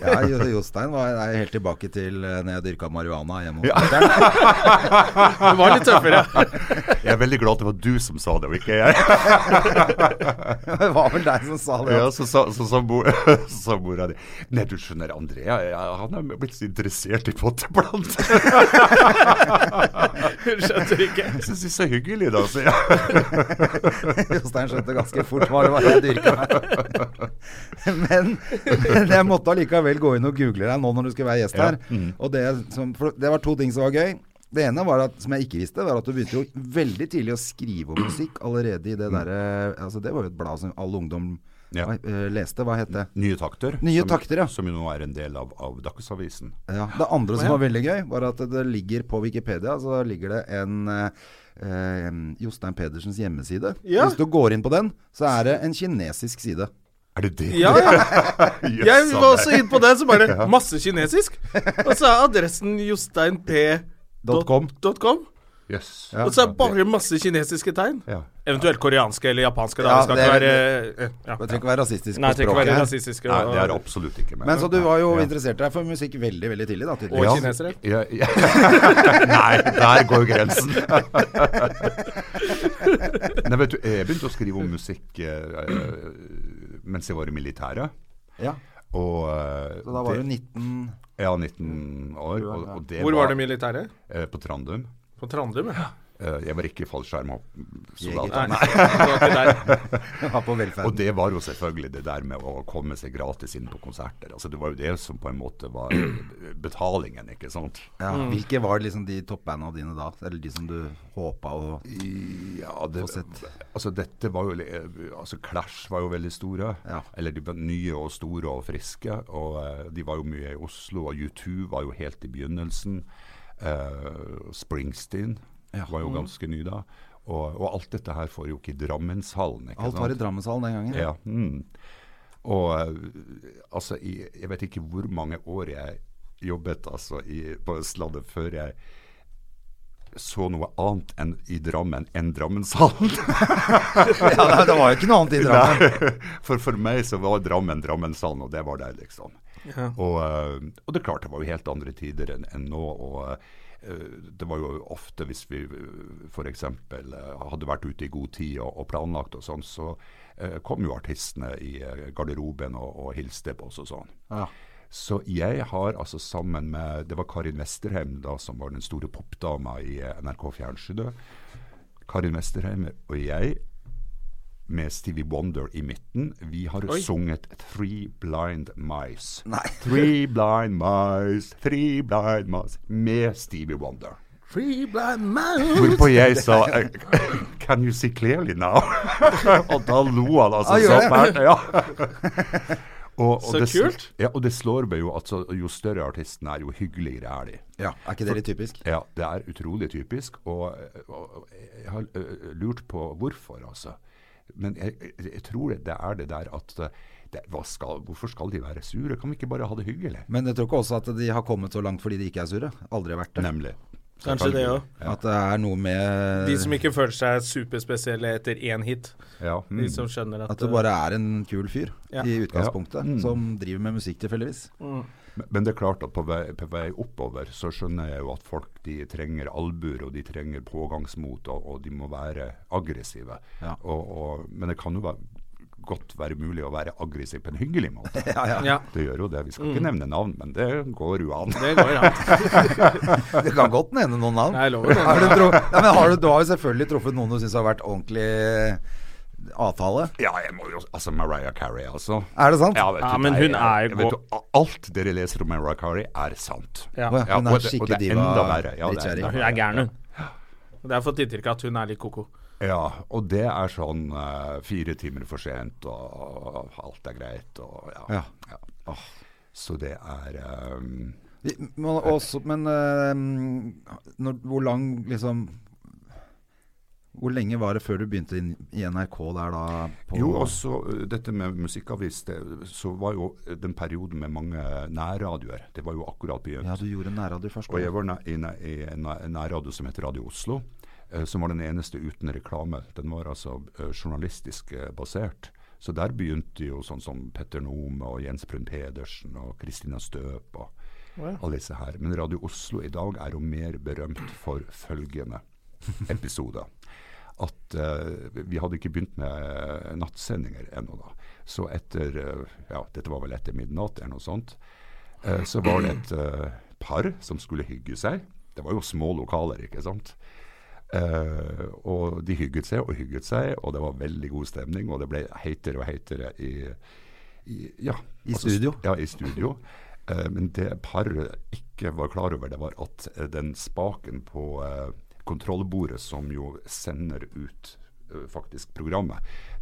Speaker 2: Ja, Jo- Jostein var er helt tilbake til eh, når jeg dyrka marihuana hjemme hos mutter'n.
Speaker 1: Han var litt tøffere.
Speaker 3: Jeg er veldig glad at det var du som sa det, og ikke jeg.
Speaker 2: Det var vel deg som sa det.
Speaker 3: Ja,
Speaker 2: at-
Speaker 3: så sa så sa mor- så sa mora di Nei, du skjønner, André, jeg, jeg, han er blitt så interessert i potteplanter.
Speaker 1: Skjønte du ikke?
Speaker 3: Jeg syns det er så hyggelig, da, sier jeg.
Speaker 2: Jostein skjønte ganske fort hva det var jeg dyrka her. Men, men jeg måtte allikevel gå inn og google deg nå når du skulle være gjest her. Og det, som, for det var to ting som var gøy. Det ene var at, som jeg ikke visste, var at du begynte jo veldig tidlig å skrive om musikk allerede i det derre altså Det var jo et blad som all ungdom
Speaker 3: Ja.
Speaker 2: hva, eh, leste. Hva het det?
Speaker 3: Nye takter.
Speaker 2: Nye
Speaker 3: som,
Speaker 2: takter, ja.
Speaker 3: Som jo nå er en del av, av Dagsavisen.
Speaker 2: Ja. Det andre som var veldig gøy, var at det ligger på Wikipedia Så ligger det en eh, eh, Jostein Pedersens hjemmeside.
Speaker 1: Ja.
Speaker 2: Hvis du går inn på den, så er det en kinesisk side.
Speaker 3: Er det det?
Speaker 1: Ja, ja.
Speaker 3: Jøss,
Speaker 1: Jeg var
Speaker 3: André.
Speaker 1: også inn på den, så bare Masse kinesisk. Og så er adressen josteinp.com.
Speaker 3: Jøss.
Speaker 1: Og så er det bare masse kinesiske tegn.
Speaker 3: Ja.
Speaker 1: Eventuelt koreanske eller japanske. Da.
Speaker 2: Ja,
Speaker 1: det skal ikke
Speaker 2: det
Speaker 1: være
Speaker 2: er-
Speaker 1: eh, ja.
Speaker 2: Jeg trenger ikke være
Speaker 1: Nei,
Speaker 2: rasistisk på
Speaker 1: det trenger ikke
Speaker 2: språket
Speaker 1: være
Speaker 2: her.
Speaker 1: rasistiske.
Speaker 3: Nei, det er
Speaker 1: og-
Speaker 3: absolutt ikke med.
Speaker 2: Men så du var jo
Speaker 3: Ja.
Speaker 2: interessert deg for musikk veldig, veldig tidlig, da,
Speaker 1: Og
Speaker 2: tydeligvis.
Speaker 1: kinesere.
Speaker 3: Ja, ja. Nei, der går grensen. Nei, vet du, jeg begynte å skrive om musikk eh, eh, mens jeg var i militæret.
Speaker 2: Ja.
Speaker 3: Og, eh,
Speaker 2: Så da var
Speaker 3: det-
Speaker 2: du 19
Speaker 3: Ja, 19 år. Og, og det
Speaker 1: Hvor var det militæret?
Speaker 3: eh, På Trandum.
Speaker 1: På Trandum, ja.
Speaker 3: Eh, jeg var ikke fallskjermsoldat.
Speaker 2: Jeger.
Speaker 3: da.
Speaker 1: Nei, det var ikke der.
Speaker 2: var på
Speaker 3: Og
Speaker 2: velferden.
Speaker 3: det var jo selvfølgelig det der med å komme seg gratis inn på konserter. Altså Det var jo det som på en måte var betalingen, ikke sant.
Speaker 2: Ja.
Speaker 1: Mm.
Speaker 2: Hvilke var liksom de toppbanda dine da? Eller de som du håpa å
Speaker 3: Ja, det,
Speaker 2: Få sett.
Speaker 3: altså dette var jo li- eh, altså Clash var jo veldig store.
Speaker 2: Ja.
Speaker 3: Eller de var nye og store og friske. Og eh, de var jo mye i Oslo. Og U2 var jo helt i begynnelsen. Eh, Springsteen var jo ganske ny da. Og, og alt dette her får jo ikke i Drammenshallen. Ikke
Speaker 2: Alt var i Drammenshallen den gangen.
Speaker 3: Ja. Mm. Og eh, altså, i, jeg vet ikke hvor mange år jeg jobbet altså, i, på Østlandet før jeg så noe annet enn i Drammen enn Drammenshallen.
Speaker 2: Ja, det, det var jo ikke noe annet i Drammen.
Speaker 3: For for meg så var Drammen Drammenshallen, og det var der, liksom. Og, eh, og det er klart, det var jo helt andre tider enn enn nå. og eh, det var jo ofte hvis vi f.eks. hadde vært ute i god tid og, og planlagt og sånn, så eh, kom jo artistene i eh, garderoben og, og hilste på oss og sånn. Så jeg har altså sammen med Det var Karin Westerheim da, som var den store popdama i eh, NRK Fjernsynet. Karin Westerheim og jeg, med Stevie Wonder i midten, vi har sunget Three Blind Mice.
Speaker 2: Nei.
Speaker 3: Three Blind Mice, Three Blind Mice, med Stevie Wonder.
Speaker 1: Free blind man.
Speaker 3: Hvorpå jeg sa eh, Can you see clearly now? og da lo han altså
Speaker 2: Ah, gjorde
Speaker 3: så
Speaker 2: det?
Speaker 3: fælt. Ja. Og, og
Speaker 1: Så
Speaker 3: det,
Speaker 1: kult.
Speaker 3: Ja, og det slår meg jo at så, jo større artisten er, jo hyggeligere er de.
Speaker 2: Ja, Er ikke det litt typisk?
Speaker 3: Ja, det er utrolig typisk, og, og, og jeg har ø, lurt på hvorfor, altså. Men jeg, jeg- jeg tror det er det der at ø, det, hva skal, Hvorfor skal de være sure? Kan vi ikke bare ha det hyggelig?
Speaker 2: Men jeg tror ikke også at de har kommet så langt fordi de ikke er sure. Aldri vært det.
Speaker 3: Nemlig.
Speaker 1: Kanskje det òg.
Speaker 2: At det er noe med
Speaker 1: De som ikke føler seg superspesielle etter én hit.
Speaker 3: Ja. Mm.
Speaker 1: De som skjønner at,
Speaker 2: At det bare er en kul fyr
Speaker 1: Ja.
Speaker 2: i utgangspunktet,
Speaker 3: Ja. Mm.
Speaker 2: som driver med musikk tilfeldigvis.
Speaker 3: Men- Men det er klart at på vei, på vei oppover så skjønner jeg jo at folk de trenger albuer, og de trenger pågangsmot, og, og de må være aggressive.
Speaker 2: Ja.
Speaker 3: Og, og, men det kan jo være, godt være mulig å være aggressiv på en hyggelig måte.
Speaker 1: eh, Ja, Mm.
Speaker 3: Det gjør jo det. Vi skal ikke nevne navn, men det går jo an.
Speaker 1: det går an.
Speaker 2: Det kan godt nevne noen navn.
Speaker 1: Nei, jeg lover det.
Speaker 2: Har du, tro... ja, men har du, du har jo selvfølgelig truffet noen du syns har vært ordentlig eh, avtale.
Speaker 3: Ja, jeg må jo Altså, Mariah Carey, altså.
Speaker 2: Er det sant?
Speaker 3: Ja, vet
Speaker 1: Ja,
Speaker 3: du,
Speaker 1: men
Speaker 3: nei,
Speaker 1: hun er
Speaker 3: jeg-
Speaker 1: jo
Speaker 3: vet
Speaker 1: god.
Speaker 3: du, a- Alt dere leser om Mariah Carey, er sant.
Speaker 1: Ja.
Speaker 2: Å ja, hun er
Speaker 3: og det- og
Speaker 2: skikkelig
Speaker 3: det er
Speaker 2: diva.
Speaker 3: enda verre. Ja, det er-
Speaker 2: drittkjerring.
Speaker 1: Ja, Hun er gæren, hun. Det har fått inntrykk av at hun er litt ko-ko.
Speaker 3: Ja, og det er sånn eh, fire timer for sent, og, og alt er greit, og ja.
Speaker 2: Ja.
Speaker 3: ja. Så det er eh,
Speaker 2: Vi- Men, også, men eh, når, hvor lang liksom Hvor lenge var det før du begynte inn, i NRK der da? på-
Speaker 3: Jo, også ø, dette med musikkavis, det, så var jo den perioden med mange nærradioer. Det var jo akkurat begynt.
Speaker 2: Ja, du gjorde nærradio først.
Speaker 3: Og jeg var næ- i, næ- i en næ- en nærradio som heter Radio Oslo, eh, som var den eneste uten reklame. Den var altså eh, journalistisk eh, basert. Så der begynte jo sånn som Petter Nome og Jens Brun Pedersen og Kristina Støp og alle disse her. Men Radio Oslo i dag er jo mer berømt for følgende episoder. At eh, vi hadde ikke begynt med eh, nattsendinger ennå da. Så etter, eh, ja, dette var vel etter midnatt eller noe sånt, Eh, så var det et eh, par som skulle hygge seg. Det var jo små lokaler, ikke sant. Eh, og de hygget seg og hygget seg, og det var veldig god stemning. Og det ble heitere og heitere i, i ja, Altså,
Speaker 2: I studio?
Speaker 3: Ja, i studio. Eh, men det paret ikke var klar over, det var at eh, den spaken på eh, kontrollbordet som jo sender ut eh, faktisk programmet,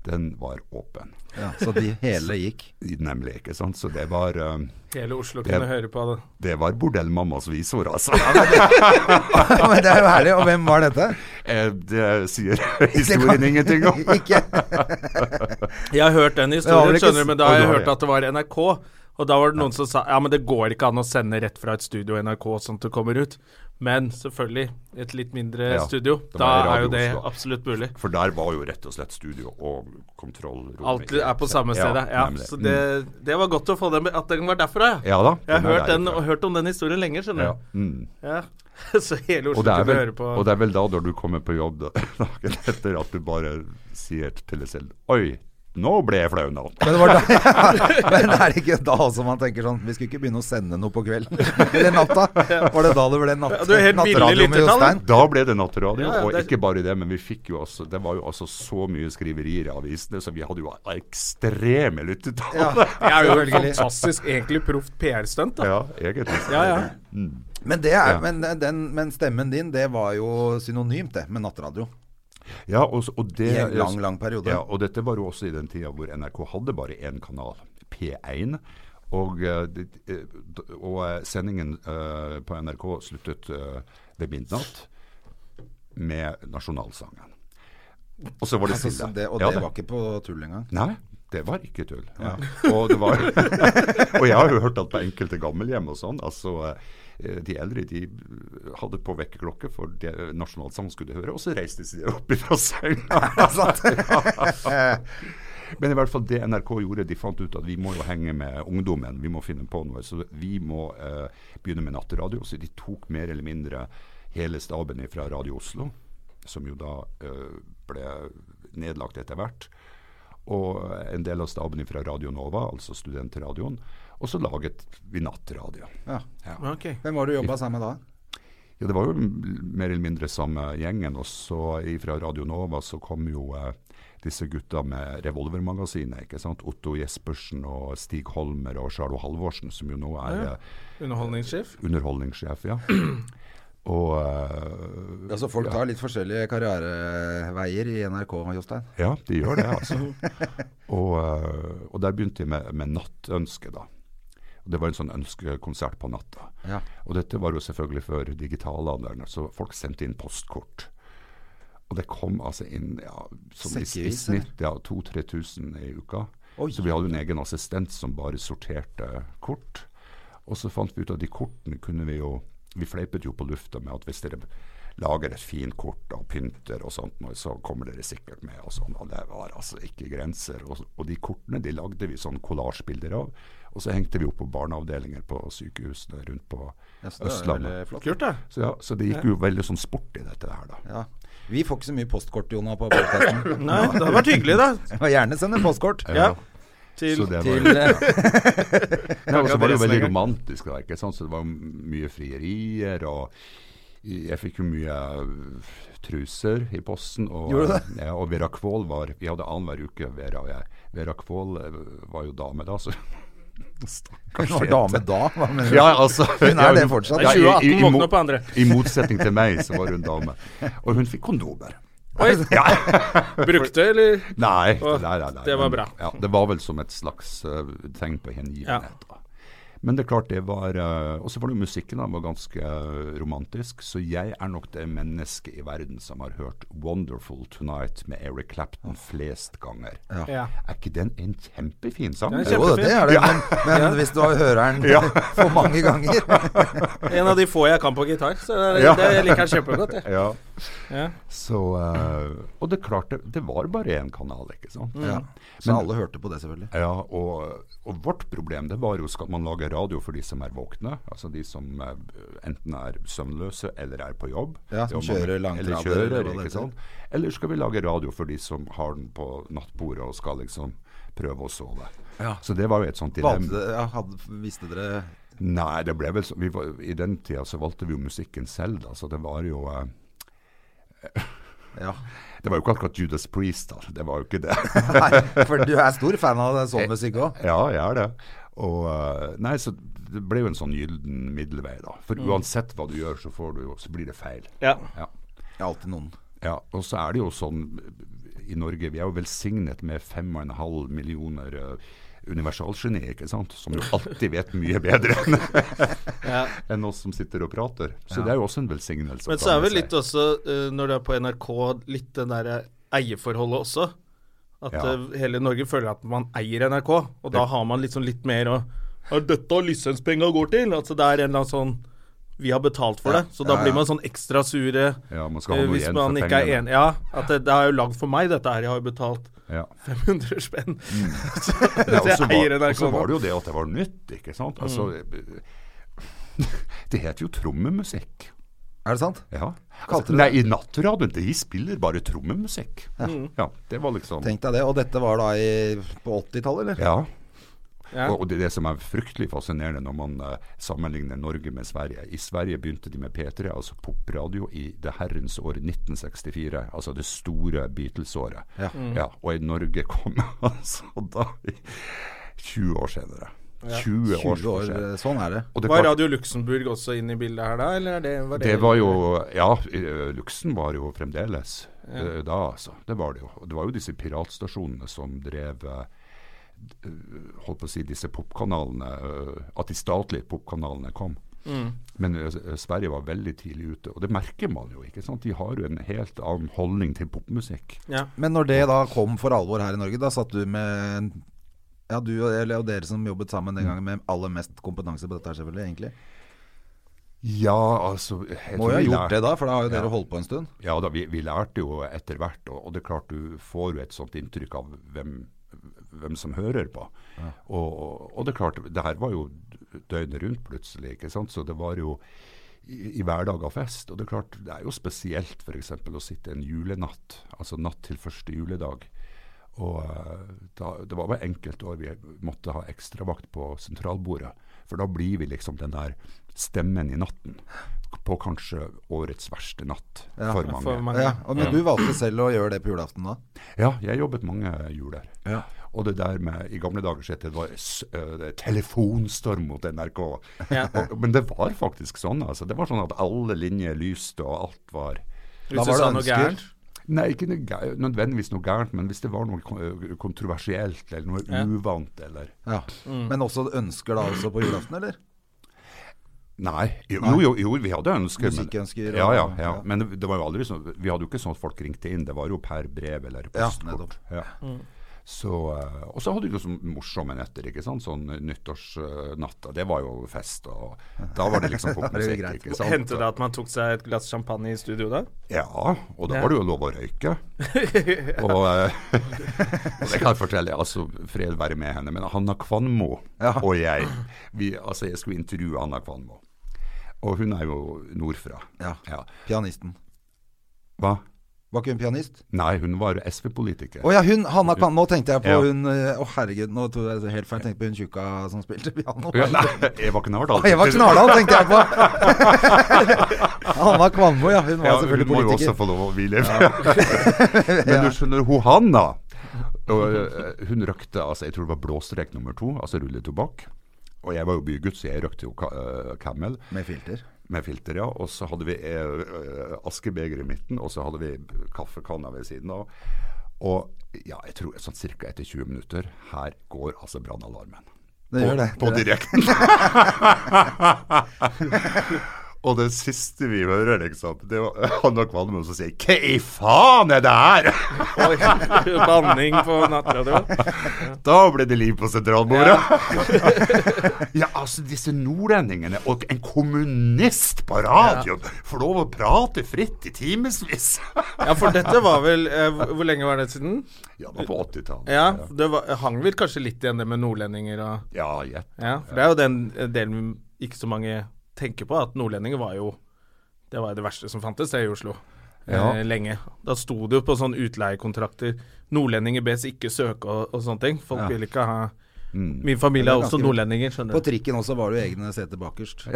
Speaker 3: den var åpen.
Speaker 2: Ja, så de hele gikk.
Speaker 3: Nemlig, ikke sant. Så det var eh,
Speaker 1: Hele Oslo
Speaker 3: Det-
Speaker 1: kunne høre på det.
Speaker 3: det var bordellmammas visor, altså.
Speaker 2: Ja, men det er jo herlig. Og hvem var dette?
Speaker 3: Eh, det sier historien ingenting om.
Speaker 2: Ikke
Speaker 1: Jeg har hørt den
Speaker 2: Det var
Speaker 1: historien,
Speaker 2: vel ikke
Speaker 1: skjønner du, men da har
Speaker 3: Oi,
Speaker 1: jeg
Speaker 3: det var
Speaker 1: hørt
Speaker 3: det.
Speaker 1: at det var NRK. Og da var det noen som sa ja, men det går ikke an å sende rett fra et studio i NRK sånn at det kommer ut. Men selvfølgelig, et litt mindre
Speaker 3: Ja,
Speaker 1: studio.
Speaker 3: det var
Speaker 1: Da
Speaker 3: i Radio
Speaker 1: er jo det
Speaker 3: Oslo.
Speaker 1: absolutt mulig.
Speaker 3: For der var jo rett og slett studio og kontrollrom.
Speaker 1: Alt er på samme
Speaker 3: Ja,
Speaker 1: sted, ja.
Speaker 3: nemlig. Mm.
Speaker 1: Så det, det var godt å få den At den var derfra, ja.
Speaker 3: Ja da.
Speaker 1: Jeg har
Speaker 3: er
Speaker 1: hørt, den,
Speaker 3: derifra.
Speaker 1: og hørt om den historien lenge, skjønner
Speaker 3: ja.
Speaker 1: du.
Speaker 3: mm.
Speaker 1: Ja. Så hele Oslo
Speaker 3: og, det er
Speaker 1: kunne
Speaker 3: vel,
Speaker 1: høre på.
Speaker 3: og det er vel da når du kommer på jobb da- dagen etter at du bare sier til deg selv Oi, nå ble jeg flau nå.
Speaker 2: Men det var da, Men er det ikke da også man tenker sånn Vi skulle ikke begynne å sende noe på kvelden eller natta. Var det da det ble natt,
Speaker 1: Ja, du er helt billig
Speaker 2: nattradio med
Speaker 1: lyttertall.
Speaker 2: Jostein?
Speaker 3: Da ble det nattradio,
Speaker 1: Ja, ja,
Speaker 3: og
Speaker 1: det er-
Speaker 3: ikke bare det, men vi fikk jo altså Det var jo altså så mye skriverier i avisene, så vi hadde jo ekstreme lyttetall.
Speaker 1: Det er jo et
Speaker 2: Selvfølgelig.
Speaker 1: fantastisk, egentlig proft PR-stunt, da.
Speaker 3: Ja, egentlig. så
Speaker 1: Ja,
Speaker 3: er
Speaker 1: ja.
Speaker 3: det- Mm.
Speaker 2: Men, det er,
Speaker 3: Ja.
Speaker 2: men, den, men stemmen din, det var jo synonymt, det, med nattradio.
Speaker 3: Ja, og, så- og det,
Speaker 2: I en lang, lang periode.
Speaker 3: Ja, og dette var jo også i den tida hvor NRK hadde bare én kanal, P1. Og, eh, det, eh, d- og eh, sendingen eh, på NRK sluttet eh, ved midnatt med nasjonalsangen. Og så var det
Speaker 2: Altså,
Speaker 3: stille.
Speaker 2: så det, og
Speaker 3: Ja,
Speaker 2: det var ikke på tull engang.
Speaker 3: Nei, det var ikke tull. Og, det var, og jeg har jo hørt at på enkelte gammelhjem og sånn, altså eh, de eldre de hadde på vekkerklokke, for det nasjonalsangen skulle høre, og så reiste de seg opp fra senga. Ja. Men i hvert fall det NRK gjorde, de fant ut at vi må jo henge med ungdommen, vi må finne på noe. Så vi må eh, begynne med natteradio. Så de tok mer eller mindre hele staben fra Radio Oslo, som jo da eh, ble nedlagt etter hvert og en del av staben fra Radio Nova, altså studentradioen. Og så laget vi nattradio.
Speaker 2: Ja.
Speaker 1: Ok.
Speaker 2: Hvem var det du jobba sammen med da?
Speaker 3: Ja, det var jo m- mer eller mindre samme gjengen. Og så fra Radio Nova så kom jo eh, disse gutta med Revolvermagasinet. ikke sant? Otto Jespersen og Stig Holmer og Charlo Halvorsen, som jo nå er eh,
Speaker 1: Underholdningssjef.
Speaker 3: underholdningssjef. ja. Og eh,
Speaker 2: Altså, folk tar litt forskjellige karriereveier i NRK, Jostein.
Speaker 3: Ja, de gjør det, altså. og, eh, og der begynte jeg med, med Nattønsket, da. Og det var en sånn ønskekonsert på natta.
Speaker 2: Ja.
Speaker 3: Og dette var jo selvfølgelig før digitalalderen, så folk sendte inn postkort. Og det kom altså inn ja, sånn i, i
Speaker 2: Sekkevis, eller?
Speaker 3: snitt ja, 2000-3000 i uka.
Speaker 2: Oi.
Speaker 3: Så vi hadde jo en egen assistent som bare sorterte kort. Og så fant vi ut at de kortene kunne vi jo Vi fleipet jo på lufta med at hvis dere lager et fint kort og pynter og sånt, noe, så kommer dere sikkert med og sånn. Og det var altså ikke grenser. Og, og de kortene de lagde vi sånn kollasjbilder av. Og så hengte vi opp på barneavdelinger på sykehusene rundt på
Speaker 2: Ja, så det er
Speaker 3: Østlandet.
Speaker 2: veldig flott.
Speaker 1: Kult, da.
Speaker 3: Så, ja, så det gikk jo veldig sånn sport i dette her, da.
Speaker 2: Ja. Vi får ikke så mye postkort, Jona, på podkasten.
Speaker 1: Nei, det hadde vært hyggelig, da.
Speaker 2: Gjerne sende postkort.
Speaker 1: Ja.
Speaker 3: Så
Speaker 1: Til
Speaker 3: det var,
Speaker 2: Til eh,
Speaker 3: Nei, og så var det jo
Speaker 1: Adresse
Speaker 3: veldig
Speaker 1: lenger.
Speaker 3: romantisk, da, ikke sant? så det var mye frierier. og jeg fikk jo mye øh, truser i posten. Og,
Speaker 2: Gjorde
Speaker 3: Ja, og Vera Kvål var Vi hadde annenhver uke, Vera og jeg. Vera Kvål øh, var jo dame da, så
Speaker 2: Hun
Speaker 3: Stakkars
Speaker 2: var
Speaker 3: jente.
Speaker 2: dame da, hva mener du?
Speaker 3: Ja, altså,
Speaker 2: Hun er det fortsatt.
Speaker 1: Nei,
Speaker 3: i-
Speaker 1: 2018
Speaker 3: i- i
Speaker 1: våkne
Speaker 3: mo-
Speaker 1: opp på andre.
Speaker 3: I motsetning til meg, så var hun dame. Og hun fikk kondomer.
Speaker 1: Oi! Brukte, eller?
Speaker 3: Nei,
Speaker 1: Åh,
Speaker 3: nei, nei, nei.
Speaker 1: det var
Speaker 3: men-
Speaker 1: bra.
Speaker 3: Ja, det var vel som et slags eh, tegn på
Speaker 1: Ja.
Speaker 3: hengivenhet. da. Men det er klart det var eh, Og så var det jo musikken, da. Den var ganske eh, romantisk. Så jeg er nok det mennesket i verden som har hørt 'Wonderful Tonight' med Eric Clapton flest ganger.
Speaker 1: Ja.
Speaker 3: Er ikke den en kjempefin sang?
Speaker 1: Den er
Speaker 2: Jo, det er det, men, men hvis du hører den for mange ganger
Speaker 1: En av de få jeg kan på gitar, så det,
Speaker 3: Ja.
Speaker 1: det liker jeg kjempegodt. Jeg.
Speaker 3: Ja.
Speaker 1: Ja.
Speaker 3: Så, eh, og det er klart, det, det var bare én kanal,
Speaker 1: Mm.
Speaker 3: ikke sant.
Speaker 2: ja. Så alle hørte på det, selvfølgelig.
Speaker 3: Ja, og, og vårt problem det var jo skal man lage radio for de som er våkne, altså de som eh, enten er søvnløse eller er på jobb.
Speaker 2: Ja, som
Speaker 3: Det var mange-
Speaker 2: kjører langtrader, eller
Speaker 3: Eller kjører,
Speaker 2: hva det
Speaker 3: ikke sant. Eller skal vi lage radio for de som har den på nattbordet og skal liksom prøve å sove. Så det var jo et sånt dilemma.
Speaker 2: Valgte, ja, hadde, visste dere
Speaker 3: Nei, det ble vel så, vi var, I den tida så valgte vi jo musikken selv, da, så det var jo eh,
Speaker 2: Ja.
Speaker 3: Det var jo ikke akkurat Judas Priest, da. Det var jo ikke det.
Speaker 2: Nei, for du er stor fan av sånn musikk òg.
Speaker 3: Ja, jeg er det. Og, eh, nei, så det ble jo en sånn gylden middelvei, da. For uansett hva du gjør, så, får du, jo- så blir det feil.
Speaker 1: Mm. Ja.
Speaker 3: Ja.
Speaker 2: Alltid noen.
Speaker 3: Ja, Og så er det jo sånn eh, i Norge, vi er jo velsignet med 5,5 millioner eh, universalgenier, ikke sant? Som jo alltid vet mye bedre enn enn oss som sitter og prater. Så det er jo også en velsignelse.
Speaker 1: Men
Speaker 3: kan
Speaker 1: så er
Speaker 3: jeg
Speaker 1: vel
Speaker 3: si.
Speaker 1: litt også, eh, når du er på NRK, litt det derre eierforholdet også. At
Speaker 3: Ja.
Speaker 1: eh, hele Norge føler at man eier NRK, og da har man liksom litt mer å Er dette lisenspenga går til? Altså det er en eller annen sånn Vi har betalt for det. Så da
Speaker 2: ja,
Speaker 1: blir
Speaker 2: ja.
Speaker 1: man sånn ekstra sure
Speaker 3: Ja, man skal ha
Speaker 1: eh,
Speaker 3: noe
Speaker 1: hvis
Speaker 3: igjen for
Speaker 1: man ikke er
Speaker 3: pengene.
Speaker 1: enig. Ja, at det, det er jo lagd for meg, dette her. Jeg har jo betalt
Speaker 3: Ja.
Speaker 1: 500 spenn.
Speaker 3: Mm,
Speaker 1: så
Speaker 3: Ja, og
Speaker 1: jeg
Speaker 3: så
Speaker 1: eier
Speaker 3: var, og
Speaker 1: NRK.
Speaker 3: så var
Speaker 1: nå.
Speaker 3: det jo det at det var nytt, ikke sant. Altså,
Speaker 1: Mm.
Speaker 3: det heter jo trommemusikk.
Speaker 2: Er det sant?
Speaker 3: Ja.
Speaker 2: Kalte
Speaker 3: Altså,
Speaker 2: du
Speaker 3: nei, i nattradioen, de spiller bare trommemusikk. Ja. det var liksom
Speaker 2: Tenk deg det. Og dette var da i, på 80-tallet, eller?
Speaker 3: Ja.
Speaker 1: Ja.
Speaker 3: Og, og det er det som er fryktelig fascinerende når man eh, sammenligner Norge med Sverige. I Sverige begynte de med P3, altså popradio, i det herrens år 1964. Altså det store Beatles-året.
Speaker 2: Ja.
Speaker 3: Mm. Ja, og i Norge kom altså da i 20 år senere. 20 år
Speaker 2: 20 år,
Speaker 3: senere.
Speaker 2: sånn er det.
Speaker 3: Og det er
Speaker 1: Var
Speaker 3: klart-
Speaker 1: Radio Luxembourg også inne i bildet her da, eller er det, var det,
Speaker 3: Det var jo Ja, eh, Luxen var jo fremdeles eh, da, altså. Det var det jo. Og Det var jo disse piratstasjonene som drev eh, d- eh, Holdt på å si disse popkanalene eh, At de statlige popkanalene kom. Men eh, s- Sverige var veldig tidlig ute, og det merker man jo. ikke sant? De har jo en helt annen holdning til popmusikk.
Speaker 1: ja.
Speaker 2: Men når det da kom for alvor her i Norge, da satt du med ja, du og, eller, og dere som jobbet sammen den gangen med aller mest kompetanse på dette her, selvfølgelig, egentlig.
Speaker 3: Ja, altså jeg
Speaker 2: Må
Speaker 3: tror
Speaker 2: jo ha
Speaker 3: vi
Speaker 2: gjort
Speaker 3: lær-
Speaker 2: det da, for da har jo
Speaker 3: Ja.
Speaker 2: dere holdt på en stund.
Speaker 3: Ja da, vi, vi lærte jo etter hvert, og, og det er klart du får jo et sånt inntrykk av hvem, hvem som hører på. Og, og, og det er klart, det her var jo døgnet rundt plutselig, ikke sant? så det var jo i, i hverdag av fest. Og det er klart, det er jo spesielt f.eks. å sitte en julenatt, altså natt til første juledag. Og eh, da, det var bare enkelte år vi måtte ha ekstravakt på sentralbordet. For da blir vi liksom den der stemmen i natten på kanskje årets verste natt
Speaker 2: Ja,
Speaker 3: for mange.
Speaker 1: for mange.
Speaker 2: Ja, og, Men du valgte selv å gjøre det på julaften da?
Speaker 3: Ja, jeg jobbet mange juler.
Speaker 2: Ja.
Speaker 3: Og det der med I gamle dager så het det var s- øh, det er telefonstorm mot NRK.
Speaker 1: Ja.
Speaker 3: Og, men det var faktisk sånn. altså. Det var sånn at alle linjer lyste, og alt var
Speaker 1: Hvis du
Speaker 2: var det
Speaker 1: sa noe
Speaker 2: ønsker.
Speaker 1: gærent.
Speaker 3: Nei, ikke noe gæ- nødvendigvis noe gærent, men hvis det var noe kon- øh, kontroversielt eller noe
Speaker 1: Ja.
Speaker 3: uvant eller
Speaker 2: Ja. Men også ønsker da også på julaften, eller?
Speaker 3: Nei. Jo, jo, jo vi hadde ønsker. men-
Speaker 2: Musikkønsker og-
Speaker 3: Ja, ja, ja.
Speaker 2: ja.
Speaker 3: Men det, det var jo aldri sånn, vi hadde jo ikke sånn at folk ringte inn. Det var jo per brev eller
Speaker 2: Ja,
Speaker 3: postkort.
Speaker 2: nettopp.
Speaker 3: Ja. Så, eh, og så hadde vi jo sånn morsomme netter, ikke sant. Sånn nyttårsnatta. Det var jo fest, og da var det liksom
Speaker 2: Det
Speaker 3: popmusikk,
Speaker 2: er jo greit.
Speaker 3: ikke sant.
Speaker 1: Hendte det at man tok seg et glass champagne i studio da?
Speaker 3: Ja, og da var det jo lov å røyke. Og, eh, og det kan jeg fortelle, altså fred være med henne, men Hanna Kvanmo og jeg, vi, altså jeg skulle intervjue Hanna Kvanmo. Og hun er jo nordfra.
Speaker 2: Ja. Pianisten.
Speaker 3: Hva?
Speaker 2: Var ikke hun pianist?
Speaker 3: Nei, hun var SV-politiker.
Speaker 2: Å ja, hun Hanna Kvam. Nå tenkte jeg på
Speaker 3: Ja.
Speaker 2: hun eh, Å herregud, nå tok jeg det helt feil. Tenkte på hun tjukka som spilte piano.
Speaker 3: Ja, nei, Eva Knardal.
Speaker 2: Eva Knardal tenkte jeg på! Hanna Kvanmo, ja. Hun var
Speaker 3: Ja, hun
Speaker 2: selvfølgelig
Speaker 3: må jo også
Speaker 2: politiker.
Speaker 3: få lov å hvile. Men du skjønner, hun Hanna og, eh, Hun røkte altså, jeg tror det var blåstrek nummer to, altså rulletobakk. Og jeg var jo bygutt, så jeg røkte jo ka- eh, Camel
Speaker 2: Med filter.
Speaker 3: med filter, ja. Og så hadde vi eh, eh, askebeger i midten, og så hadde vi kaffekanna ved siden av. Og ja, jeg tror sånn ca. etter 20 minutter Her går altså brannalarmen.
Speaker 2: Det gjør det.
Speaker 3: På direkten. og det siste vi hører, liksom, det er han og Kvalmen som sier 'Hva i faen er det her?'
Speaker 1: Oi, Banning på nattradioen.
Speaker 3: Da ble det liv på sentralbordet. ja, altså, disse nordlendingene og en kommunist på radioen får lov å prate fritt i timevis.
Speaker 1: Ja, for dette var vel eh, hvor- Hvor lenge var det siden?
Speaker 3: ja, det var på 80-tallet.
Speaker 1: Ja, det var, hang vel kanskje litt igjen det med nordlendinger og
Speaker 3: Ja, gjett.
Speaker 1: Ja, for det er jo den eh, delen ikke så mange tenker på, at nordlendinger var jo Det var jo det verste som fantes det i Oslo.
Speaker 3: Ja.
Speaker 1: Eh, lenge. Da sto det jo på sånne utleiekontrakter 'Nordlendinger bes ikke søke' og, og sånne ting. Folk vil ikke ha Min familie er
Speaker 2: Det er
Speaker 1: også
Speaker 2: ganske-
Speaker 1: nordlendinger, skjønner
Speaker 2: På
Speaker 1: du.
Speaker 2: trikken også var det jo egne seter bakerst.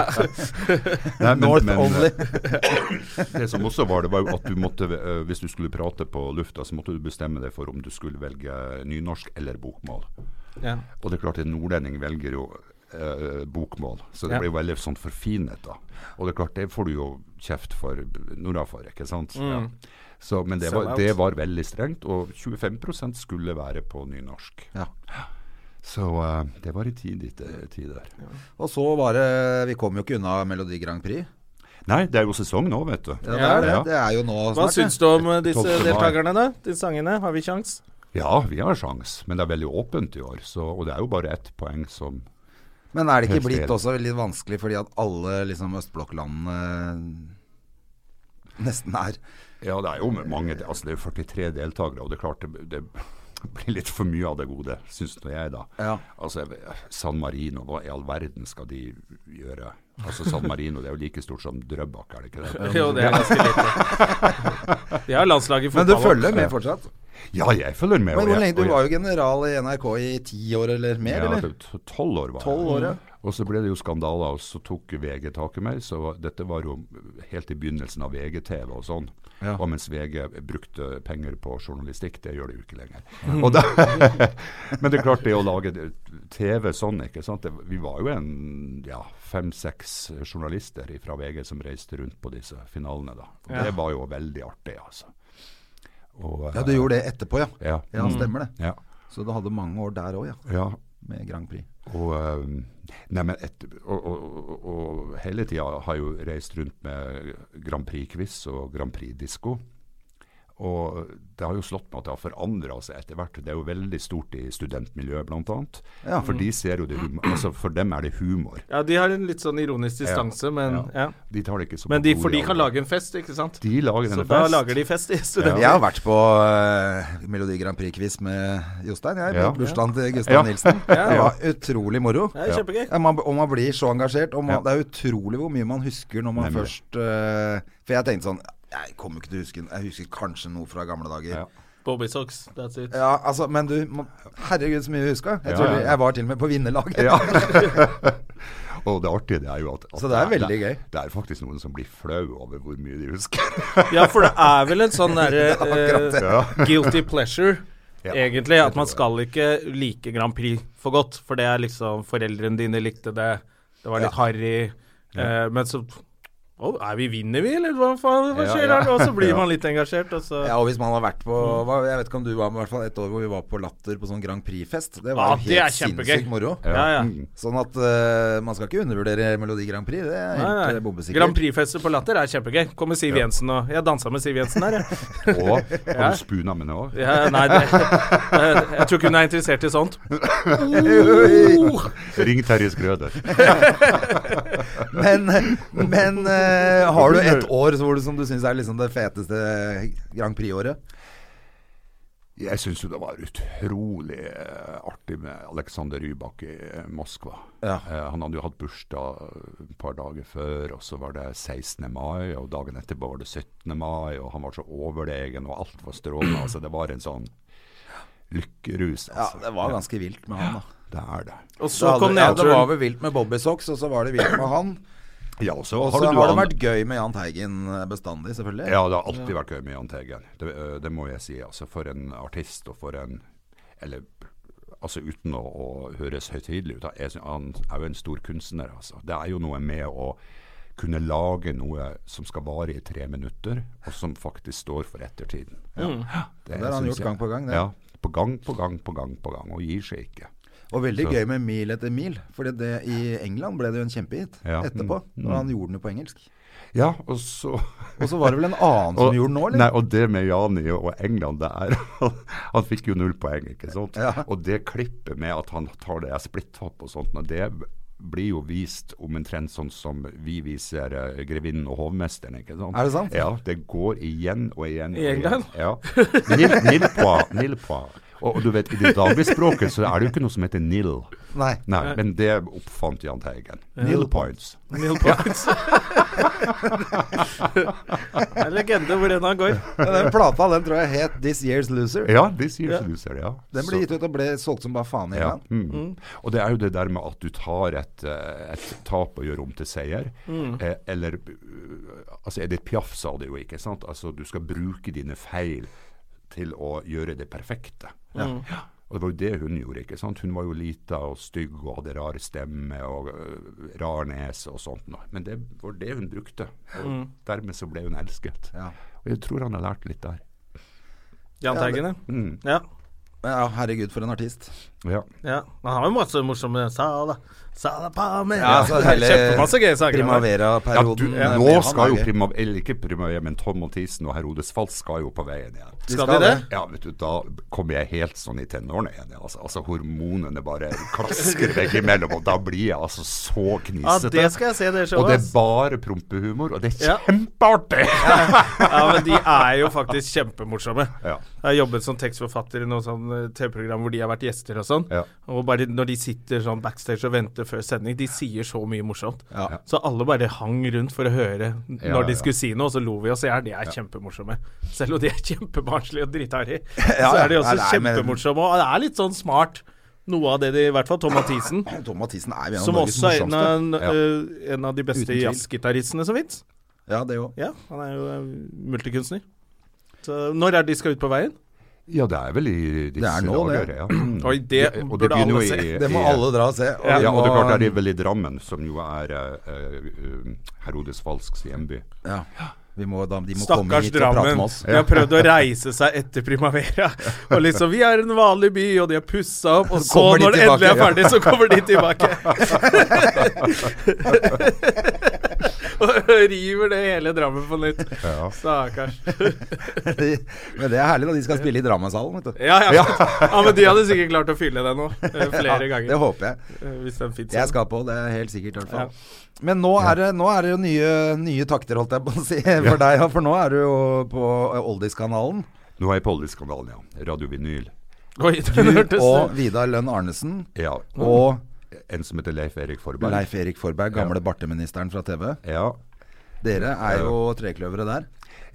Speaker 3: Nei, men-
Speaker 2: North
Speaker 3: men, eh,
Speaker 2: only.
Speaker 3: Det som også var det, var jo at du måtte, eh, hvis du skulle prate på lufta, så måtte du bestemme deg for om du skulle velge nynorsk eller bokmål.
Speaker 1: Ja.
Speaker 3: Og det er klart, en nordlending velger jo eh, bokmål, så det
Speaker 1: Ja.
Speaker 3: blir jo veldig sånn forfinet, da. Og det er klart, det får du jo kjeft for nordafor, ikke sant?
Speaker 2: Mm.
Speaker 3: Ja. Så, men det var,
Speaker 1: Sellout.
Speaker 3: det var veldig strengt, og 25 skulle være på nynorsk.
Speaker 2: Ja.
Speaker 3: Så eh, det var i eh, tid, ikke tider.
Speaker 2: Og så var det Vi kom jo ikke unna Melodi Grand Prix.
Speaker 3: Nei, det er jo sesong nå, vet du.
Speaker 2: Ja, det er det.
Speaker 3: Ja.
Speaker 2: Det er jo nå
Speaker 1: Hva
Speaker 2: snart.
Speaker 1: syns du om eh, disse
Speaker 3: 12. mai.
Speaker 1: deltakerne, da? De sangene? Har vi kjangs?
Speaker 3: Ja, vi har sjans, men det er veldig åpent i år. Så, og det er jo bare ett poeng som
Speaker 2: det. Men er det
Speaker 3: Helt
Speaker 2: ikke blitt
Speaker 3: enig.
Speaker 2: også litt vanskelig fordi at alle liksom østblokklandene nesten er
Speaker 3: Ja, det er jo mange Altså det er 43 deltakere, og det er klart det, det blir litt for mye av det gode, syns nå jeg, da.
Speaker 2: Ja.
Speaker 3: Altså jeg- San Marino, hva i all verden skal de gjøre? Altså San Marino det er jo like stort som Drøbak, er det ikke det?
Speaker 1: Jo, det er ganske lite. De har landslag i
Speaker 2: Men
Speaker 1: fotball.
Speaker 2: du
Speaker 1: også.
Speaker 2: følger med fortsatt?
Speaker 3: Ja, jeg følger med.
Speaker 2: Men
Speaker 3: og
Speaker 2: hvor
Speaker 3: jeg-
Speaker 2: lenge, Du
Speaker 3: og jeg-
Speaker 2: var jo general i NRK i ti år eller mer,
Speaker 3: Ja,
Speaker 2: eller?
Speaker 3: det- t- tolv år var jeg.
Speaker 2: 12 år, ja.
Speaker 3: Og så ble det jo skandaler, og så tok VG tak i meg. Så dette var jo helt i begynnelsen av VGTV og sånn.
Speaker 2: Ja.
Speaker 3: Og mens VG brukte penger på journalistikk, det gjør de jo ikke lenger.
Speaker 2: Mm.
Speaker 3: Og da, men det er klart, det å lage det- TV sånn, ikke sant. Det, vi var jo en ja, fem-seks journalister fra VG som reiste rundt på disse finalene, da. Og Det var jo veldig artig, altså. Og,
Speaker 2: Ja, du gjorde det etterpå, ja.
Speaker 3: eh, ja.
Speaker 2: Ja, stemmer det.
Speaker 3: ja.
Speaker 2: Så du hadde mange år der òg, ja.
Speaker 3: ja.
Speaker 2: Med Grand Prix.
Speaker 3: Og, ehm, nei, men et, og, og, og- og hele tida har jeg jo reist rundt med Grand Prix-quiz og Grand Prix-disko. Og det har jo slått meg at det har forandra seg etter hvert. Det er jo veldig stort i studentmiljøet, bl.a.
Speaker 2: Ja.
Speaker 3: For de ser jo det hum- altså For dem er det humor.
Speaker 1: Ja, de har en litt sånn ironisk distanse, men ja.
Speaker 3: De tar det ikke så
Speaker 1: Men de,
Speaker 3: god
Speaker 1: for de
Speaker 3: i
Speaker 1: kan
Speaker 3: alvor.
Speaker 1: lage en fest, ikke sant?
Speaker 3: De lager
Speaker 1: Så
Speaker 3: en
Speaker 1: da
Speaker 3: fest.
Speaker 1: lager de fest i studentene.
Speaker 2: Jeg har vært på eh, Melodi Grand Prix-quiz med Jostein, jeg. På
Speaker 3: Ja.
Speaker 2: bursdagen til Gustav
Speaker 3: Ja.
Speaker 2: Nilsen. Det
Speaker 3: Ja.
Speaker 2: var utrolig moro.
Speaker 1: Det er kjempegøy.
Speaker 2: Ja, man, og man blir så engasjert. Og man,
Speaker 3: Ja.
Speaker 2: Det er utrolig hvor mye man husker når man
Speaker 3: Nemlig.
Speaker 2: først eh, For jeg tenkte sånn Jeg kommer jo ikke til å huske Jeg husker kanskje noe fra gamle dager.
Speaker 3: Ja.
Speaker 2: Ja.
Speaker 1: Bobby socks, that's it.
Speaker 2: altså, Men du må- Herregud, så mye jeg huska. Jeg,
Speaker 3: Ja,
Speaker 2: tror
Speaker 3: ja, ja.
Speaker 2: jeg var til og med på vinnerlaget.
Speaker 3: Ja. og det artige det er jo at, at
Speaker 2: Så det er veldig
Speaker 3: det,
Speaker 2: gøy.
Speaker 3: det er faktisk noen som blir flau over hvor mye de husker.
Speaker 1: Ja, for det er vel en sånn derre
Speaker 2: Akkurat det.
Speaker 1: eh, guilty pleasure,
Speaker 3: Ja,
Speaker 1: egentlig. At man skal ikke like Grand Prix for godt, for det er liksom Foreldrene dine likte det, det var litt harry, eh, men så Å, er vi vinner vi, eller hva faen hva
Speaker 3: Ja,
Speaker 1: skjer
Speaker 3: ja.
Speaker 1: her? Og så blir
Speaker 3: Ja.
Speaker 1: man litt engasjert, og så
Speaker 2: Ja, og hvis man har vært på hva- Jeg vet ikke om du var med i hvert fall et år hvor vi var på Latter på sånn Grand Prix-fest. Det
Speaker 1: Ja,
Speaker 2: var jo
Speaker 1: det er
Speaker 2: helt
Speaker 1: kjempegøy.
Speaker 2: sinnssykt moro.
Speaker 1: Ja, ja.
Speaker 3: Mm.
Speaker 2: Sånn at eh, man skal ikke undervurdere Melodi Grand Prix. Det
Speaker 1: Nei,
Speaker 2: er helt
Speaker 1: nei.
Speaker 2: eh, bombesikkert.
Speaker 1: Grand Prix-fester på Latter er kjempegøy. Kommer Siv Jensen og Jeg dansa med Siv Jensen her, jeg.
Speaker 3: Og har du spuna med nå?
Speaker 1: Ja, nei, det, jeg, jeg tror ikke hun er interessert i sånt.
Speaker 3: Ring Terje Skrøder.
Speaker 2: Men, men eh, har du et år hvor du, som du syns er liksom det feteste Grand Prix-året?
Speaker 3: Jeg syns jo det var utrolig eh, artig med Alexander Rybak i eh, Moskva.
Speaker 2: Ja.
Speaker 3: Eh, han hadde jo hatt bursdag eh, et par dager før, og så var det 16. mai, og dagen etterpå var det 17. mai, og han var så overlegen, og alt var strålende. altså det var en sånn lykkerus,
Speaker 2: Ja,
Speaker 3: altså.
Speaker 2: det var ganske vilt med han, da.
Speaker 3: det er det.
Speaker 1: Og
Speaker 2: Så
Speaker 1: så kom
Speaker 2: hadde, ja, det var
Speaker 1: nedturen.
Speaker 2: vel vilt med Bobby Socks, og så var det vilt med han.
Speaker 3: Ja, og så
Speaker 2: Og
Speaker 3: har
Speaker 2: så
Speaker 3: du
Speaker 2: har det
Speaker 3: an-
Speaker 2: vært gøy med Jahn Teigen eh, bestandig, selvfølgelig.
Speaker 3: Ja, det har alltid vært gøy med Jahn Teigen. Det, ø, det må jeg si. Altså, for en artist og for en Eller altså, uten å, å høres høytidelig ut, da, jeg synes, han er jo en stor kunstner. Altså. Det er jo noe med å kunne lage noe som skal vare i tre minutter, og som faktisk står for ettertiden. Ja.
Speaker 2: Mm. Det har han
Speaker 3: synes
Speaker 2: gjort gang på gang, det.
Speaker 3: Ja, på gang på gang på gang på gang, og gir seg ikke.
Speaker 2: Og veldig
Speaker 3: Så-
Speaker 2: gøy med mil etter mil. For det, i England ble det jo en kjempehit
Speaker 3: Ja.
Speaker 2: etterpå.
Speaker 3: Mm.
Speaker 2: Når han gjorde den jo på engelsk.
Speaker 3: Ja, og så
Speaker 2: Og så var det vel en annen som gjorde den nå,
Speaker 3: Nei,
Speaker 2: eller?
Speaker 3: og det med Jani og England, det er Han fikk jo null poeng, ikke sant?
Speaker 2: Ja.
Speaker 3: Og det klippet med at han tar det splitthopp og sånt, og det blir jo vist omtrent sånn som vi viser eh, 'Grevinnen og hovmesteren', ikke sant?
Speaker 2: Er det sant?
Speaker 3: Ja, det går igjen og igjen. og
Speaker 1: I England?
Speaker 3: igjen. Ja. Nil, nilpå, nilpå. Og, og du vet, i det daglige språket så er det jo ikke noe som heter nil.
Speaker 2: Nei.
Speaker 3: Nei, men det oppfant Jahn Teigen. Nil points.
Speaker 1: Neil Barnes. det er en legende hvor den han går.
Speaker 2: Men Den plata den tror jeg het 'This Year's Loser'.
Speaker 3: Ja, det sier du ser det, ja.
Speaker 2: Den
Speaker 3: Så-
Speaker 2: ble gitt ut og ble solgt som bare faen i
Speaker 3: Ja.
Speaker 2: England.
Speaker 3: Mm. Og det er jo det der med at du tar et, eh, et tap og gjør om til seier. Eh, eller eh, altså Edith Piaf sa det jo, ikke sant? Altså Du skal bruke dine feil til å gjøre det perfekte. Mm. Ja. Og det var jo det hun gjorde. ikke sant? Hun var jo lita og stygg og hadde rar stemme og eh, rar nese og sånt. noe. Men det var det hun brukte. Og dermed så ble hun elsket.
Speaker 2: Ja.
Speaker 3: Og jeg tror han har lært litt der.
Speaker 1: Jahn Teigen, ja. ja.
Speaker 2: Men ja, herregud, for en artist.
Speaker 3: Ja.
Speaker 1: Ja. Han har jo masse morsomme Sala, Sala Palmer.
Speaker 2: Ja, altså, hele
Speaker 1: Kjempemasse gøye saker. han har.
Speaker 3: Ja, du,
Speaker 2: Primavera-perioden. eh,
Speaker 3: nå
Speaker 2: med han
Speaker 3: skal
Speaker 2: er
Speaker 3: jo
Speaker 2: gøy.
Speaker 3: Primavera, eller ikke Primavera, men Tom Mathisen og Herodes Falsk skal jo på veien igjen.
Speaker 2: De
Speaker 1: Skal de det?
Speaker 3: Ja, vet du, da kommer jeg helt sånn i tenårene igjen. jeg, Altså, altså hormonene bare klasker vekk imellom, og da blir jeg altså
Speaker 1: Ja,
Speaker 3: så knisete.
Speaker 1: det skal jeg se, det
Speaker 3: og
Speaker 1: showet.
Speaker 3: det er
Speaker 1: ass.
Speaker 3: bare prompehumor, og det
Speaker 1: Ja.
Speaker 3: er kjempeartig!
Speaker 1: Ja, men de er jo faktisk kjempemorsomme.
Speaker 3: Ja.
Speaker 1: Jeg har jobbet som tekstforfatter i noen sånn eh, TV-program hvor de har vært gjester og sånn.
Speaker 3: Ja.
Speaker 1: Og bare når de sitter sånn backstage og venter før sending, de sier så mye morsomt.
Speaker 2: Ja.
Speaker 1: Så alle bare hang rundt for å høre n- når
Speaker 3: Ja, ja,
Speaker 1: de
Speaker 3: ja.
Speaker 1: skulle si noe, og så lo vi oss i hjel. De er kjempemorsomme. Selv om de er kjempebarnslige og drittharry,
Speaker 2: Ja,
Speaker 1: så
Speaker 2: ja.
Speaker 1: er de også
Speaker 2: Nei, nei, men-
Speaker 1: kjempemorsomme. Og det er litt sånn smart, noe av det de I hvert fall Tom Mathisen.
Speaker 2: Tom Mathisen er jo en av
Speaker 1: Som
Speaker 2: Norges
Speaker 1: også er en
Speaker 2: morsomste.
Speaker 1: av, eh, en av de
Speaker 2: Uten
Speaker 1: beste
Speaker 2: tvil.
Speaker 1: jazzgitaristene som fins.
Speaker 2: Ja, det òg.
Speaker 1: Ja, han er jo eh, multikunstner. Så når er det de skal ut på veien?
Speaker 3: Ja, det er vel i disse
Speaker 2: Det er nå, det.
Speaker 3: dager, ja. Mm.
Speaker 1: Oi, det
Speaker 3: og
Speaker 1: burde
Speaker 3: begynner jo
Speaker 1: alle se.
Speaker 3: i-
Speaker 2: Det må
Speaker 3: i-
Speaker 2: alle dra og se. Og
Speaker 3: Ja,
Speaker 2: vi
Speaker 3: og det er
Speaker 2: må-
Speaker 3: klart det er vel i Drammen, som jo er eh, eh, Herodes Falsks hjemby.
Speaker 2: Ja. Vi må, da, de må komme
Speaker 1: Stakkars
Speaker 2: hit og prate
Speaker 1: Drammen.
Speaker 2: med oss.
Speaker 1: De har prøvd å reise seg etter Primavera. Og liksom Vi er en vanlig by, og de har pussa opp, og så,
Speaker 2: kommer de
Speaker 1: når det endelig er
Speaker 2: tilbake,
Speaker 1: ferdig, så kommer de tilbake. og river det hele Drammen på nytt. Stakkars.
Speaker 2: Men det er herlig, da. De skal spille i Drammenshallen, vet du.
Speaker 1: Ja, ja. ja, men de hadde sikkert klart å fylle den òg, flere
Speaker 2: Det
Speaker 1: ganger.
Speaker 2: håper jeg.
Speaker 1: eh, Hvis den fins.
Speaker 2: Jeg skal på, det er helt sikkert. i hvert fall Men nå er det, nå er det jo nye, nye takter, holdt jeg på å si, for deg. ja, For nå er du jo på eh, Oldiskanalen.
Speaker 3: Nå er jeg på Oldiskanalen, ja. Radio Vinyl.
Speaker 1: Oi, den hørtes
Speaker 2: Og Vidar Lønn Arnesen.
Speaker 3: Ja.
Speaker 2: Og
Speaker 3: En som heter Leif Erik Forberg.
Speaker 2: Leif Erik Forberg, gamle barteministeren fra TV.
Speaker 3: Ja.
Speaker 2: Dere er jo trekløvere der.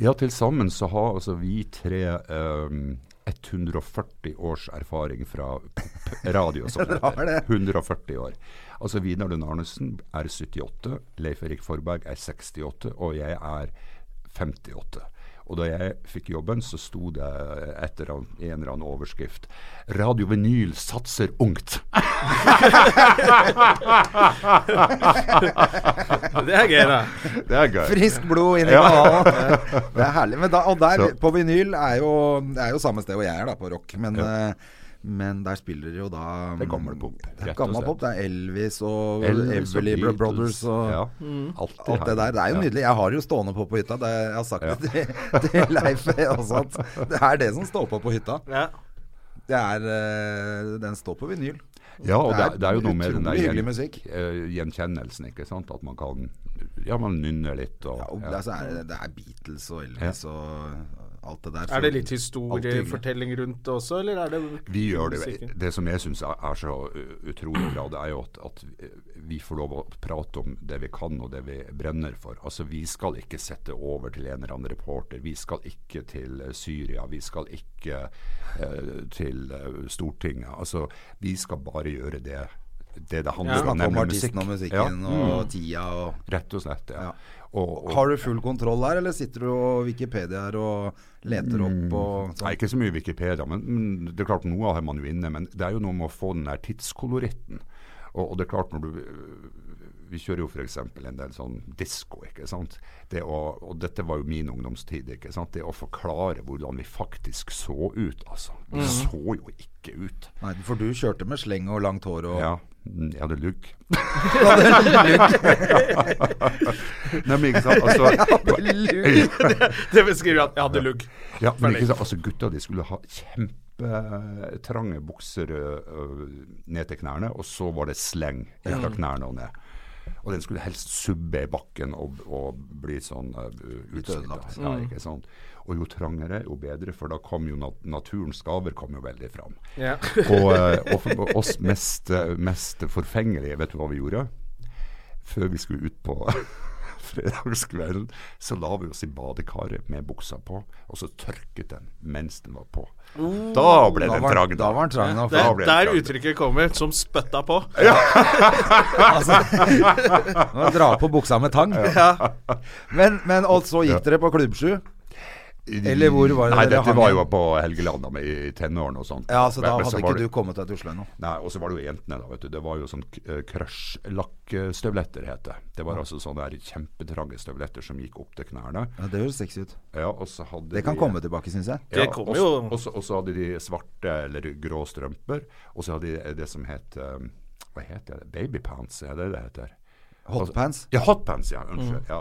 Speaker 3: ja, til sammen så har altså vi tre ehm, 140 års erfaring fra p- radio, som det
Speaker 2: Bra, det.
Speaker 3: heter. 140 år. Altså Vidar Lund Arnesen er 78, Leif Erik Forberg er 68, og jeg er 58. Og da jeg fikk jobben, så sto det etter en en eller annen overskrift 'Radio Vinyl satser ungt'.
Speaker 1: Det er gøy, da.
Speaker 3: Det er gøy.
Speaker 2: Frisk blod inni
Speaker 3: Ja.
Speaker 2: kanalen. Det er herlig. Men da, og der,
Speaker 3: Så-
Speaker 2: på vinyl, er jo, det er jo samme sted hvor jeg er, da, på rock. Men, eh, men der spiller jo da
Speaker 3: Det er gammel pop,
Speaker 2: Det
Speaker 3: rett
Speaker 2: er
Speaker 3: og
Speaker 2: gammel
Speaker 3: slett.
Speaker 2: pop. Det er Elvis og
Speaker 3: Elvis og
Speaker 2: Everly
Speaker 3: Beatles,
Speaker 2: Brothers og
Speaker 3: ja. Alt,
Speaker 2: Alt det der, det er jo
Speaker 3: ja.
Speaker 2: nydelig. Jeg har jo stående på på hytta. Det, jeg har sagt det til, til Leif også, at det er det som står på på hytta.
Speaker 1: Ja.
Speaker 2: Det er, eh, den står på vinyl.
Speaker 3: Ja, og
Speaker 2: Det
Speaker 3: det
Speaker 2: er
Speaker 3: er, det er jo noe med den der
Speaker 2: utrolig hyggelig musikk.
Speaker 3: eh, gjenkjennelsen, ikke sant. At man kan Ja, man nynner litt og
Speaker 2: Ja, og
Speaker 3: ja.
Speaker 2: Det, er, så er, det- det er Beatles og Elvis og alt det der.
Speaker 1: Er det litt
Speaker 2: Alt hyggelig.
Speaker 1: historiefortelling rundt det også, eller er det
Speaker 3: Vi gjør det.
Speaker 1: musikken?
Speaker 3: Det som jeg syns er, er så uh, utrolig bra, det er jo at, at vi får lov å prate om det vi kan og det vi brenner for. Altså, Vi skal ikke sette over til en eller annen reporter. Vi skal ikke til eh, Syria. Vi skal ikke eh, til eh, Stortinget. Altså, Vi skal bare gjøre det det, det handler om,
Speaker 2: Snakke om
Speaker 3: nemlig
Speaker 2: artisten og
Speaker 3: musikk.
Speaker 2: musikken
Speaker 3: Ja,
Speaker 1: Mm.
Speaker 3: Mm.
Speaker 2: og tida og
Speaker 3: rett og slett. Ja. Og, og,
Speaker 2: Har du full kontroll der, eller sitter du og Wikipediaer og leter opp og sånn?
Speaker 3: Nei, ikke så mye Wikipedia, men, men det er klart noe har man jo inne. Men det er jo noe med å få den der tidskoloritten. Og, og det er klart når du øh, vi kjører jo f.eks. en del sånn disko, ikke sant. Det å, og dette var jo min ungdomstid, ikke sant. Det å forklare hvordan vi faktisk så ut, altså. Vi så jo ikke ut.
Speaker 2: Nei, for du kjørte med sleng og langt hår og
Speaker 3: Ja, mm, jeg hadde lugg. Nei, men ikke sant. Altså,
Speaker 1: Det beskriver at jeg hadde lugg.
Speaker 3: Ja, men
Speaker 1: Ferdig.
Speaker 3: ikke sant, altså Gutta de skulle ha kjempetrange bukser ø, ø, ned til knærne, og så var det sleng fra knærne og ned. Og den skulle helst subbe i bakken og, og bli sånn ø, utslitt. da. Ja, ikke sant? Og jo trangere, jo bedre, for da kom jo nat naturens gaver kom jo veldig fram.
Speaker 1: Ja.
Speaker 3: Og, ø, eh, og for oss mest, ø, mest forfengelige, vet du hva vi gjorde? Før vi skulle ut på fredagskvelden, så la vi oss i badekaret med buksa på, og så tørket den mens den var på. Da ble
Speaker 2: Oh, Da
Speaker 3: den
Speaker 2: var,
Speaker 3: trang,
Speaker 2: da var han trang nok.
Speaker 1: Det
Speaker 3: Da
Speaker 1: er
Speaker 3: ble det
Speaker 1: der
Speaker 3: krangel.
Speaker 1: uttrykket kommer, som spytta på.
Speaker 2: Nå Altså, Dra på buksa med tang. Men, men og så gikk dere på Klubbsju. Eller hvor var det
Speaker 3: Nei,
Speaker 2: dere
Speaker 3: dette
Speaker 2: hang
Speaker 3: var
Speaker 2: igjen?
Speaker 3: jo på Helgeland da, med i tenårene og sånt.
Speaker 2: Ja, så da
Speaker 3: Men- men
Speaker 2: hadde
Speaker 3: var
Speaker 2: ikke du
Speaker 3: det-
Speaker 2: kommet deg til Oslo ennå.
Speaker 3: Nei, og så var det jo jentene, da, vet du. Det var jo sånn eh, crush-lakkstøvletter, het det. Det var altså sånne der kjempetrange støvletter som gikk opp til knærne.
Speaker 2: Ja, det høres sexy ut.
Speaker 3: Ja, og så hadde
Speaker 2: Det kan
Speaker 3: de-
Speaker 2: komme tilbake, syns jeg.
Speaker 1: Det kommer
Speaker 3: og-
Speaker 1: jo-
Speaker 3: Og så og så hadde de svarte eller grå strømper, og så hadde de det som het um, Hva heter det? Babypants, er det det heter? Altså-
Speaker 2: Hotpants.
Speaker 3: Ja, hotpants, ja. Unnskyld.
Speaker 1: Mm.
Speaker 3: Ja.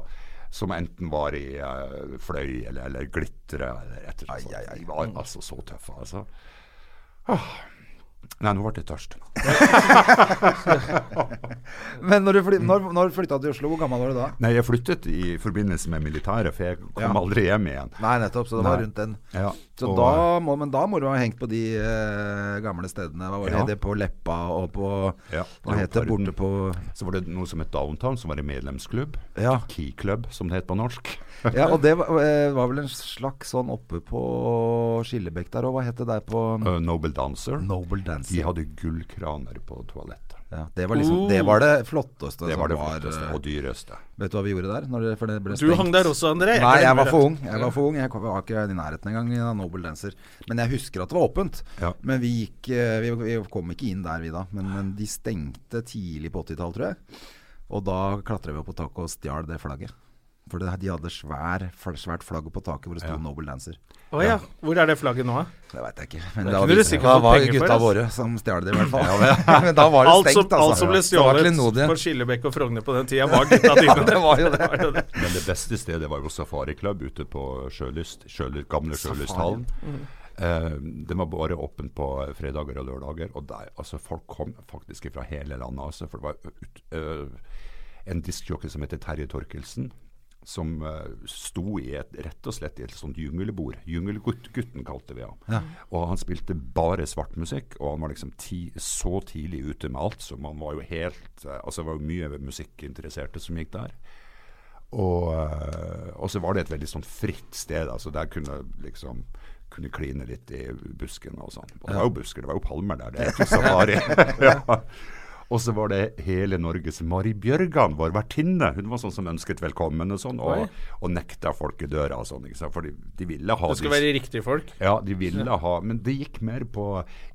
Speaker 3: Som enten var i eh, fløy eller, eller glitre eller et eller annet. sånt. De
Speaker 1: Mm.
Speaker 3: var altså så tøffe, altså. Åh. Nei, nå ble jeg tørst.
Speaker 2: Men når du fly, når, når flytta du til Oslo, hvor gammel var du da?
Speaker 3: Nei, jeg flyttet i forbindelse med militæret, for jeg kom
Speaker 2: Ja.
Speaker 3: aldri hjem igjen.
Speaker 2: Nei, nettopp. Så det var
Speaker 3: Nei.
Speaker 2: rundt den.
Speaker 3: Ja,
Speaker 2: Så
Speaker 3: og-
Speaker 2: da må, men da må du ha hengt på de eh, gamle stedene. Hva var det?
Speaker 3: Ja.
Speaker 2: det? På Leppa og på
Speaker 3: Ja,
Speaker 2: Hva het det
Speaker 3: Leoparden.
Speaker 2: borte på
Speaker 3: Så var det noe som het Downtown, som var en medlemsklubb.
Speaker 2: Ja.
Speaker 3: Key Club, som det het på norsk.
Speaker 2: Ja, og det var, eh, var vel en slags sånn oppe på Skillebekk der òg. Hva het det der på
Speaker 3: Uh, Noble Dancer.
Speaker 2: Noble
Speaker 3: De
Speaker 2: Dancer.
Speaker 3: hadde gullkraner på toalettet.
Speaker 2: Ja, det var liksom Det var det flotteste
Speaker 3: Det
Speaker 2: som
Speaker 3: var det
Speaker 2: var,
Speaker 3: flotteste
Speaker 2: eh,
Speaker 3: og dyreste.
Speaker 2: Vet du hva vi gjorde der? Når det, for det ble
Speaker 1: Du
Speaker 2: stengt.
Speaker 1: hang der også, André.
Speaker 2: Nei, jeg var for ung. Jeg var for ung Jeg kom- var ikke i nærheten engang av Noble Dancer. Men jeg husker at det var åpent.
Speaker 3: Ja.
Speaker 2: Men vi, gikk, eh, vi, vi kom ikke inn der, vi da. Men, men de stengte tidlig på 80-tallet, tror jeg. Og da klatra vi opp på taket og stjal det flagget. For det, de hadde svær, fl- svært flagg på taket hvor det sto Noble Dancer.
Speaker 1: Å ja. Hvor er det flagget nå, da?
Speaker 2: Det veit jeg ikke.
Speaker 1: Det
Speaker 2: Men da
Speaker 1: kunne
Speaker 2: var,
Speaker 1: du
Speaker 2: vi-
Speaker 1: sikkert
Speaker 2: da
Speaker 1: fått
Speaker 2: var
Speaker 1: penger for,
Speaker 2: gutta
Speaker 1: ass.
Speaker 2: våre som stjal det, i hvert fall. men, da var det
Speaker 1: Alt som,
Speaker 2: stengt, altså.
Speaker 1: alt som ble
Speaker 2: Det var
Speaker 1: stjålet
Speaker 2: klenodiet.
Speaker 1: for Skillebekk og Frogner på den tida, var gutta dine.
Speaker 2: det var jo det.
Speaker 1: var jo det.
Speaker 3: Men det beste stedet var jo safariklubb ute på Sjølyst, Sjølyst gamle Sjølysthallen. Eh, den var bare åpen på fredager og lørdager. Og der, altså folk kom faktisk fra hele landet. Altså, for det var ut, eh, en diskjockey som heter Terje Torkelsen. Som eh, sto i et, rett og slett i et sånt jungelbord. Jungelgutten kalte vi ham. Og han spilte bare svart musikk, og han var liksom ti, så tidlig ute med alt, så man var jo helt eh, Altså det var jo mye musikkinteresserte som gikk der. Og, eh, og så var det et veldig sånn fritt sted. Altså der kunne liksom kunne kline litt i busken og sånn. Og det var jo busker, det var jo palmer der. Det er ikke safari. ja. Og så var det hele Norges Mari Bjørgan, vår vertinne. Hun var sånn som ønsket velkommen og sånn, og, og nekta folk i døra og sånn. Ikke sant? For de, de ville ha
Speaker 1: Det skulle
Speaker 3: de-
Speaker 1: være riktige folk.
Speaker 3: ja, de ville ha Men det gikk mer på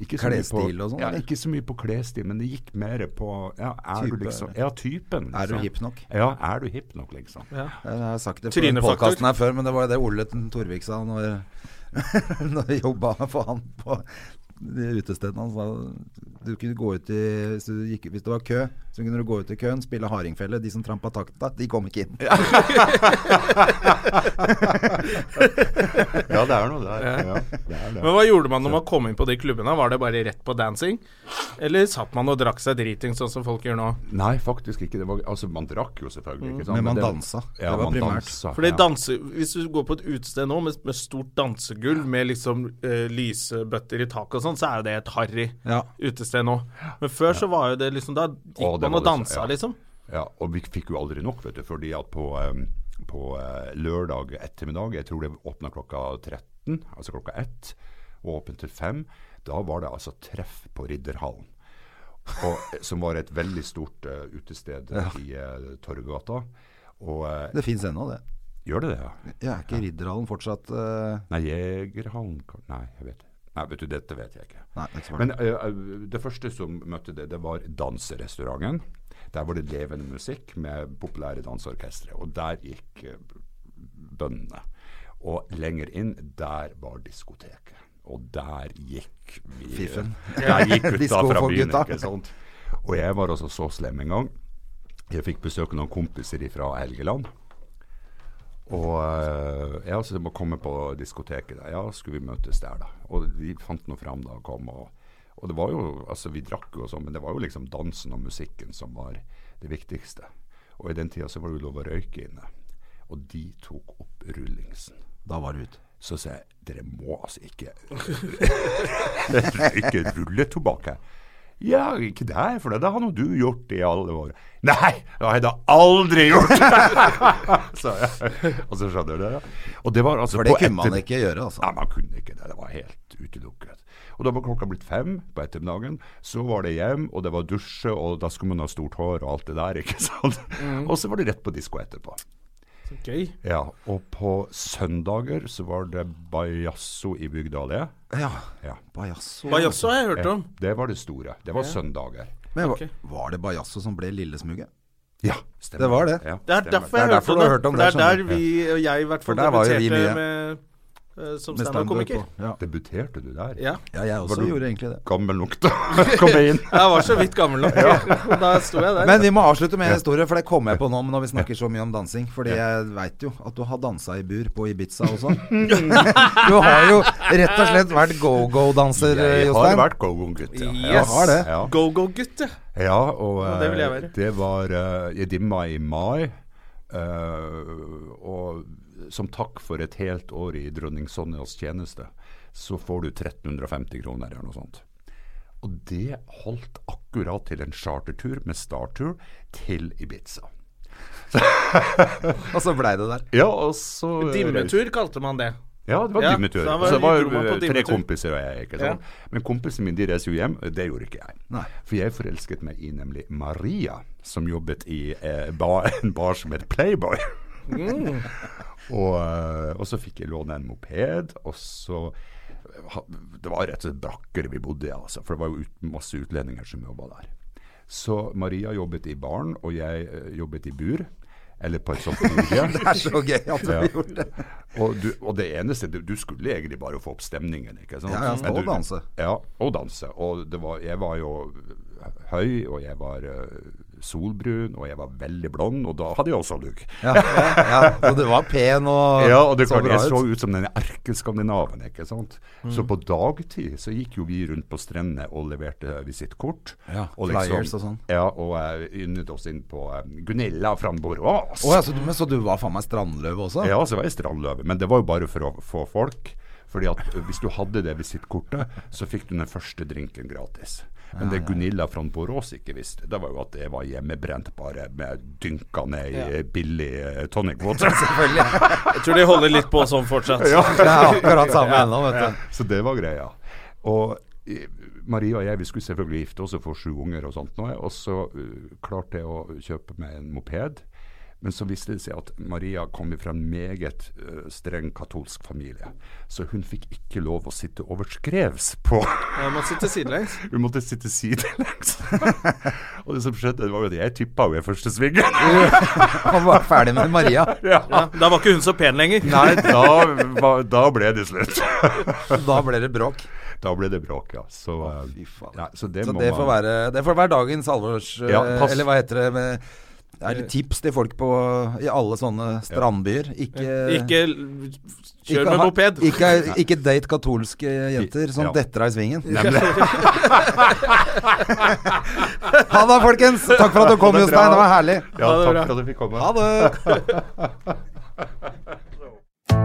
Speaker 3: ikke så mye på-
Speaker 2: Klesstil og sånn,
Speaker 3: Ja,
Speaker 2: eller?
Speaker 3: ikke så mye på klesstil, men det gikk mer på ja, er
Speaker 2: Type,
Speaker 3: du liksom,
Speaker 2: eller?
Speaker 3: ja, typen. Liksom.
Speaker 2: Er du hipp nok?
Speaker 3: Ja, er du hipp nok, liksom.
Speaker 2: Jeg har sagt det på den
Speaker 1: Trynefaktor.
Speaker 2: podcasten her før, men det var jo det Ole Torvik sa når, når vi jobba for han på de utestedene. Han sa du kunne gå ut i hvis, du gikk, hvis det var kø, så kunne du gå ut i køen, spille hardingfele. De som trampa takta, de kom ikke inn.
Speaker 3: Ja, det er noe der. Ja, det er det.
Speaker 1: Men hva gjorde man når man kom inn på de klubbene? Var det bare rett på dancing? Eller satt man og drakk seg driting, sånn som folk gjør nå?
Speaker 3: Nei, faktisk ikke. Det var, altså, man drakk jo selvfølgelig. Ikke sant?
Speaker 2: Mm. Men man
Speaker 3: det-
Speaker 2: dansa.
Speaker 3: Ja,
Speaker 2: Det var
Speaker 3: man
Speaker 2: primært.
Speaker 3: dansa,
Speaker 1: Fordi
Speaker 3: ja.
Speaker 1: danse, Hvis du går på et utested nå med, med stort dansegulv med liksom eh, lysebøtter i taket og sånn, så er jo det et harry
Speaker 2: Ja.
Speaker 1: utested nå. Men før så var jo det liksom Da
Speaker 3: Å,
Speaker 1: gikk
Speaker 3: det
Speaker 1: man og
Speaker 3: var det så-
Speaker 1: dansa,
Speaker 3: ja.
Speaker 1: liksom.
Speaker 3: Ja, og vi fikk jo aldri nok, vet du. Fordi at på, eh, på eh, lørdag ettermiddag, jeg tror det åpna klokka 13, altså klokka 1, og åpent til 5, da var det altså treff på Ridderhallen. Og, eh, som var et veldig stort eh, utested i eh, Torggata. Og eh,
Speaker 2: Det fins ennå, det.
Speaker 3: gjør det det? ja?
Speaker 2: Jeg er ikke i Ridderhallen fortsatt. eh,
Speaker 3: Nei, Jegerhallen kan- Nei, jeg vet ikke. Nei, vet du, dette vet jeg ikke.
Speaker 2: Nei, ikke
Speaker 3: Men eh, det første som møtte det, det var danserestauranten. Der var det levende musikk med populære danseorkestre, og der gikk eh, bøndene. Og lenger inn, der var diskoteket. Og der gikk vi
Speaker 2: Fiffen.
Speaker 3: Der gikk gutta
Speaker 2: Disco
Speaker 3: fra
Speaker 2: for
Speaker 3: byen,
Speaker 2: gutta.
Speaker 3: ikke sant. Og jeg var altså så slem en gang. Jeg fikk besøk av noen kompiser fra Helgeland. Og eh, ja, så jeg må komme på diskoteket der. Ja, skulle vi møtes der, da? Og de fant noe fram da og kom. Og, og det var jo, altså vi drakk jo og sånn, men det var jo liksom dansen og musikken som var det viktigste. Og i den tida så var det jo lov å røyke inne. Og de tok opp rullingsen.
Speaker 2: Da var det ut.
Speaker 3: Så sa jeg dere må altså ikke røyke rulletobakk her. Ja, ikke der, for det har nå du gjort i alle år. Nei, det har jeg da aldri gjort! sa jeg. Og så skjønner du det. ja. Og det var altså
Speaker 2: For det
Speaker 3: på
Speaker 2: kunne man
Speaker 3: etter-
Speaker 2: ikke gjøre, altså.
Speaker 3: Nei, man kunne ikke det. Det var helt utelukket. Og da var klokka blitt fem på ettermiddagen. Så var det hjem, og det var dusje, og da skulle man ha stort hår og alt det der, ikke sant. Og så var det rett på disko etterpå.
Speaker 1: Så gøy.
Speaker 3: Ja, og på søndager så var det bajasso i Bygda allé.
Speaker 2: Ja.
Speaker 3: Ja. Eh,
Speaker 2: Bajasso.
Speaker 1: Bajasso har jeg hørt om.
Speaker 3: Det var det store. Det var søndager.
Speaker 2: Men var,
Speaker 1: Ok.
Speaker 2: var det Bajasso som ble Lillesmuget?
Speaker 3: Ja, stemmer.
Speaker 2: Det var det.
Speaker 3: Ja,
Speaker 1: Det er
Speaker 3: stemmer.
Speaker 1: derfor jeg
Speaker 2: Det er
Speaker 1: har
Speaker 2: derfor
Speaker 1: hørt om
Speaker 2: du
Speaker 1: det.
Speaker 2: har hørt
Speaker 1: For det er der
Speaker 2: om det, skjønner
Speaker 1: vi og jeg i hvert fall
Speaker 2: For der var jo vi
Speaker 1: debuterte
Speaker 2: mye.
Speaker 1: med, eh, som
Speaker 2: Med
Speaker 1: standup-komiker.
Speaker 2: standup og- Ja.
Speaker 3: Debuterte du der?
Speaker 1: Ja.
Speaker 2: ja, jeg også
Speaker 3: Var du-
Speaker 2: gjorde egentlig det.
Speaker 3: Gammel nok, da. Kom inn.
Speaker 1: Jeg var så vidt gammel nok. Da sto jeg der.
Speaker 2: Men vi må avslutte med en historie, for det kom jeg på nå når vi snakker så mye om dansing. Fordi jeg veit jo at du har dansa i bur på Ibiza også. Du har jo rett og slett vært go-go-danser,
Speaker 3: Jeg har
Speaker 2: Jostein.
Speaker 3: vært go-go-gutt, ja.
Speaker 1: Yes.
Speaker 2: har det.
Speaker 3: Ja.
Speaker 1: Go-go-gutt, ja.
Speaker 3: Ja, og
Speaker 1: Ja, det vil jeg
Speaker 3: eh,
Speaker 1: være.
Speaker 3: det var eh, Jeg dimma i mai. eh, og som takk for et helt år i dronning Sonjas tjeneste, så får du 1350 kroner eller noe sånt. Og det holdt akkurat til en chartertur med starttur til Ibiza.
Speaker 2: Og så blei det der.
Speaker 3: Ja, og så eh,
Speaker 1: Dimmetur kalte man det.
Speaker 3: Ja, det var
Speaker 1: Ja,
Speaker 3: dimmetur.
Speaker 1: så da var-
Speaker 3: Så det var
Speaker 1: dro man på
Speaker 3: jo eh, tre
Speaker 1: dimmetur.
Speaker 3: kompiser og jeg. ikke sant? Men kompisen min de reiste jo hjem. Det gjorde ikke jeg.
Speaker 2: Nei.
Speaker 3: For jeg forelsket meg i nemlig Maria, som jobbet i eh, ba, en bar som het Playboy. og, eh, og så fikk jeg låne en moped, og så eh, ha- Det var rett og slett brakker vi bodde i, altså. For det var jo ut, masse utlendinger som jobba der. Så Maria jobbet i baren, og jeg eh, jobbet i bur. Eller på et sånt bord.
Speaker 2: Det er så gøy at du
Speaker 3: Ja.
Speaker 2: gjorde det.
Speaker 3: Og, du, og det eneste du, du skulle egentlig bare få opp stemningen, ikke sant?
Speaker 2: Ja, ja,
Speaker 3: Men
Speaker 2: og
Speaker 3: du-
Speaker 2: danse.
Speaker 3: Ja, og danse. Og det var, jeg var jo høy, og jeg var eh, solbrun, og jeg var veldig blond, og da hadde jeg også lugg.
Speaker 2: Ja, ja, og du var pen og,
Speaker 3: Ja, og det
Speaker 2: så
Speaker 3: klart,
Speaker 2: bra
Speaker 3: jeg så
Speaker 2: ut. Mm.
Speaker 3: ut som den erkeskandinaven, ikke sant. Så på dagtid så gikk jo vi rundt på strendene og leverte visittkort. liksom-
Speaker 2: Ja, flyers og sånn.
Speaker 3: Ja, og eh, yndet oss inn på eh, Gunilla Frandbord Aas.
Speaker 2: Å, ja, så, du, men, så du var faen meg strandløv også?
Speaker 3: Ja, så var jeg strandløve, men det var jo bare for å få folk. Fordi at ø, hvis du hadde det visittkortet, så fikk du den første drinken gratis. Men det Gunilla fra Borås ikke visste, det var jo at jeg var hjemmebrent bare med dynka ned i billig eh, tonic water.
Speaker 1: Jeg tror de holder litt på sånn fortsatt.
Speaker 2: Det er akkurat samme ennå, vet du.
Speaker 3: Så det var greia. Og eh, Maria og jeg vi skulle selvfølgelig gifte oss og få sju unger og sånt. nå, Og så eh, klarte jeg å kjøpe meg en moped. Men så viste det seg at Maria kom fra en meget eh, streng katolsk familie. Så hun fikk ikke lov å sitte overskrevs på
Speaker 1: Jeg må sitte sidelengs.
Speaker 3: Hun måtte sitte sidelengs. og det som skjedde, det var jo at jeg tippa henne i første svingen.
Speaker 2: Han var ferdig med Maria.
Speaker 1: Ja, da var ikke hun så pen lenger.
Speaker 3: Nei, da, var- da ble det slutt.
Speaker 2: Da ble det bråk.
Speaker 3: da ble det bråk, ja. Så, eh,
Speaker 2: Fy faen.
Speaker 3: nei, så det
Speaker 2: så
Speaker 3: må
Speaker 2: det
Speaker 3: man
Speaker 2: får, være, det får være dagens alvors...
Speaker 3: Ja, pass.
Speaker 2: eller hva heter det? Med, er
Speaker 1: Eh.
Speaker 2: det tips til folk på, i alle sånne strandbyer? Ikke,
Speaker 1: Eh, Ikke l- kjør med
Speaker 2: ha-
Speaker 1: moped.
Speaker 2: Ikke, ikke date katolske jenter som
Speaker 3: Ja.
Speaker 2: detter av i svingen.
Speaker 3: Nemlig.
Speaker 2: Ha det, folkens! Takk for at du kom,
Speaker 3: Ha det bra.
Speaker 2: Jostein. Det var herlig.
Speaker 3: Ja,
Speaker 1: det bra.
Speaker 3: takk for at du fikk komme.
Speaker 2: Ha det!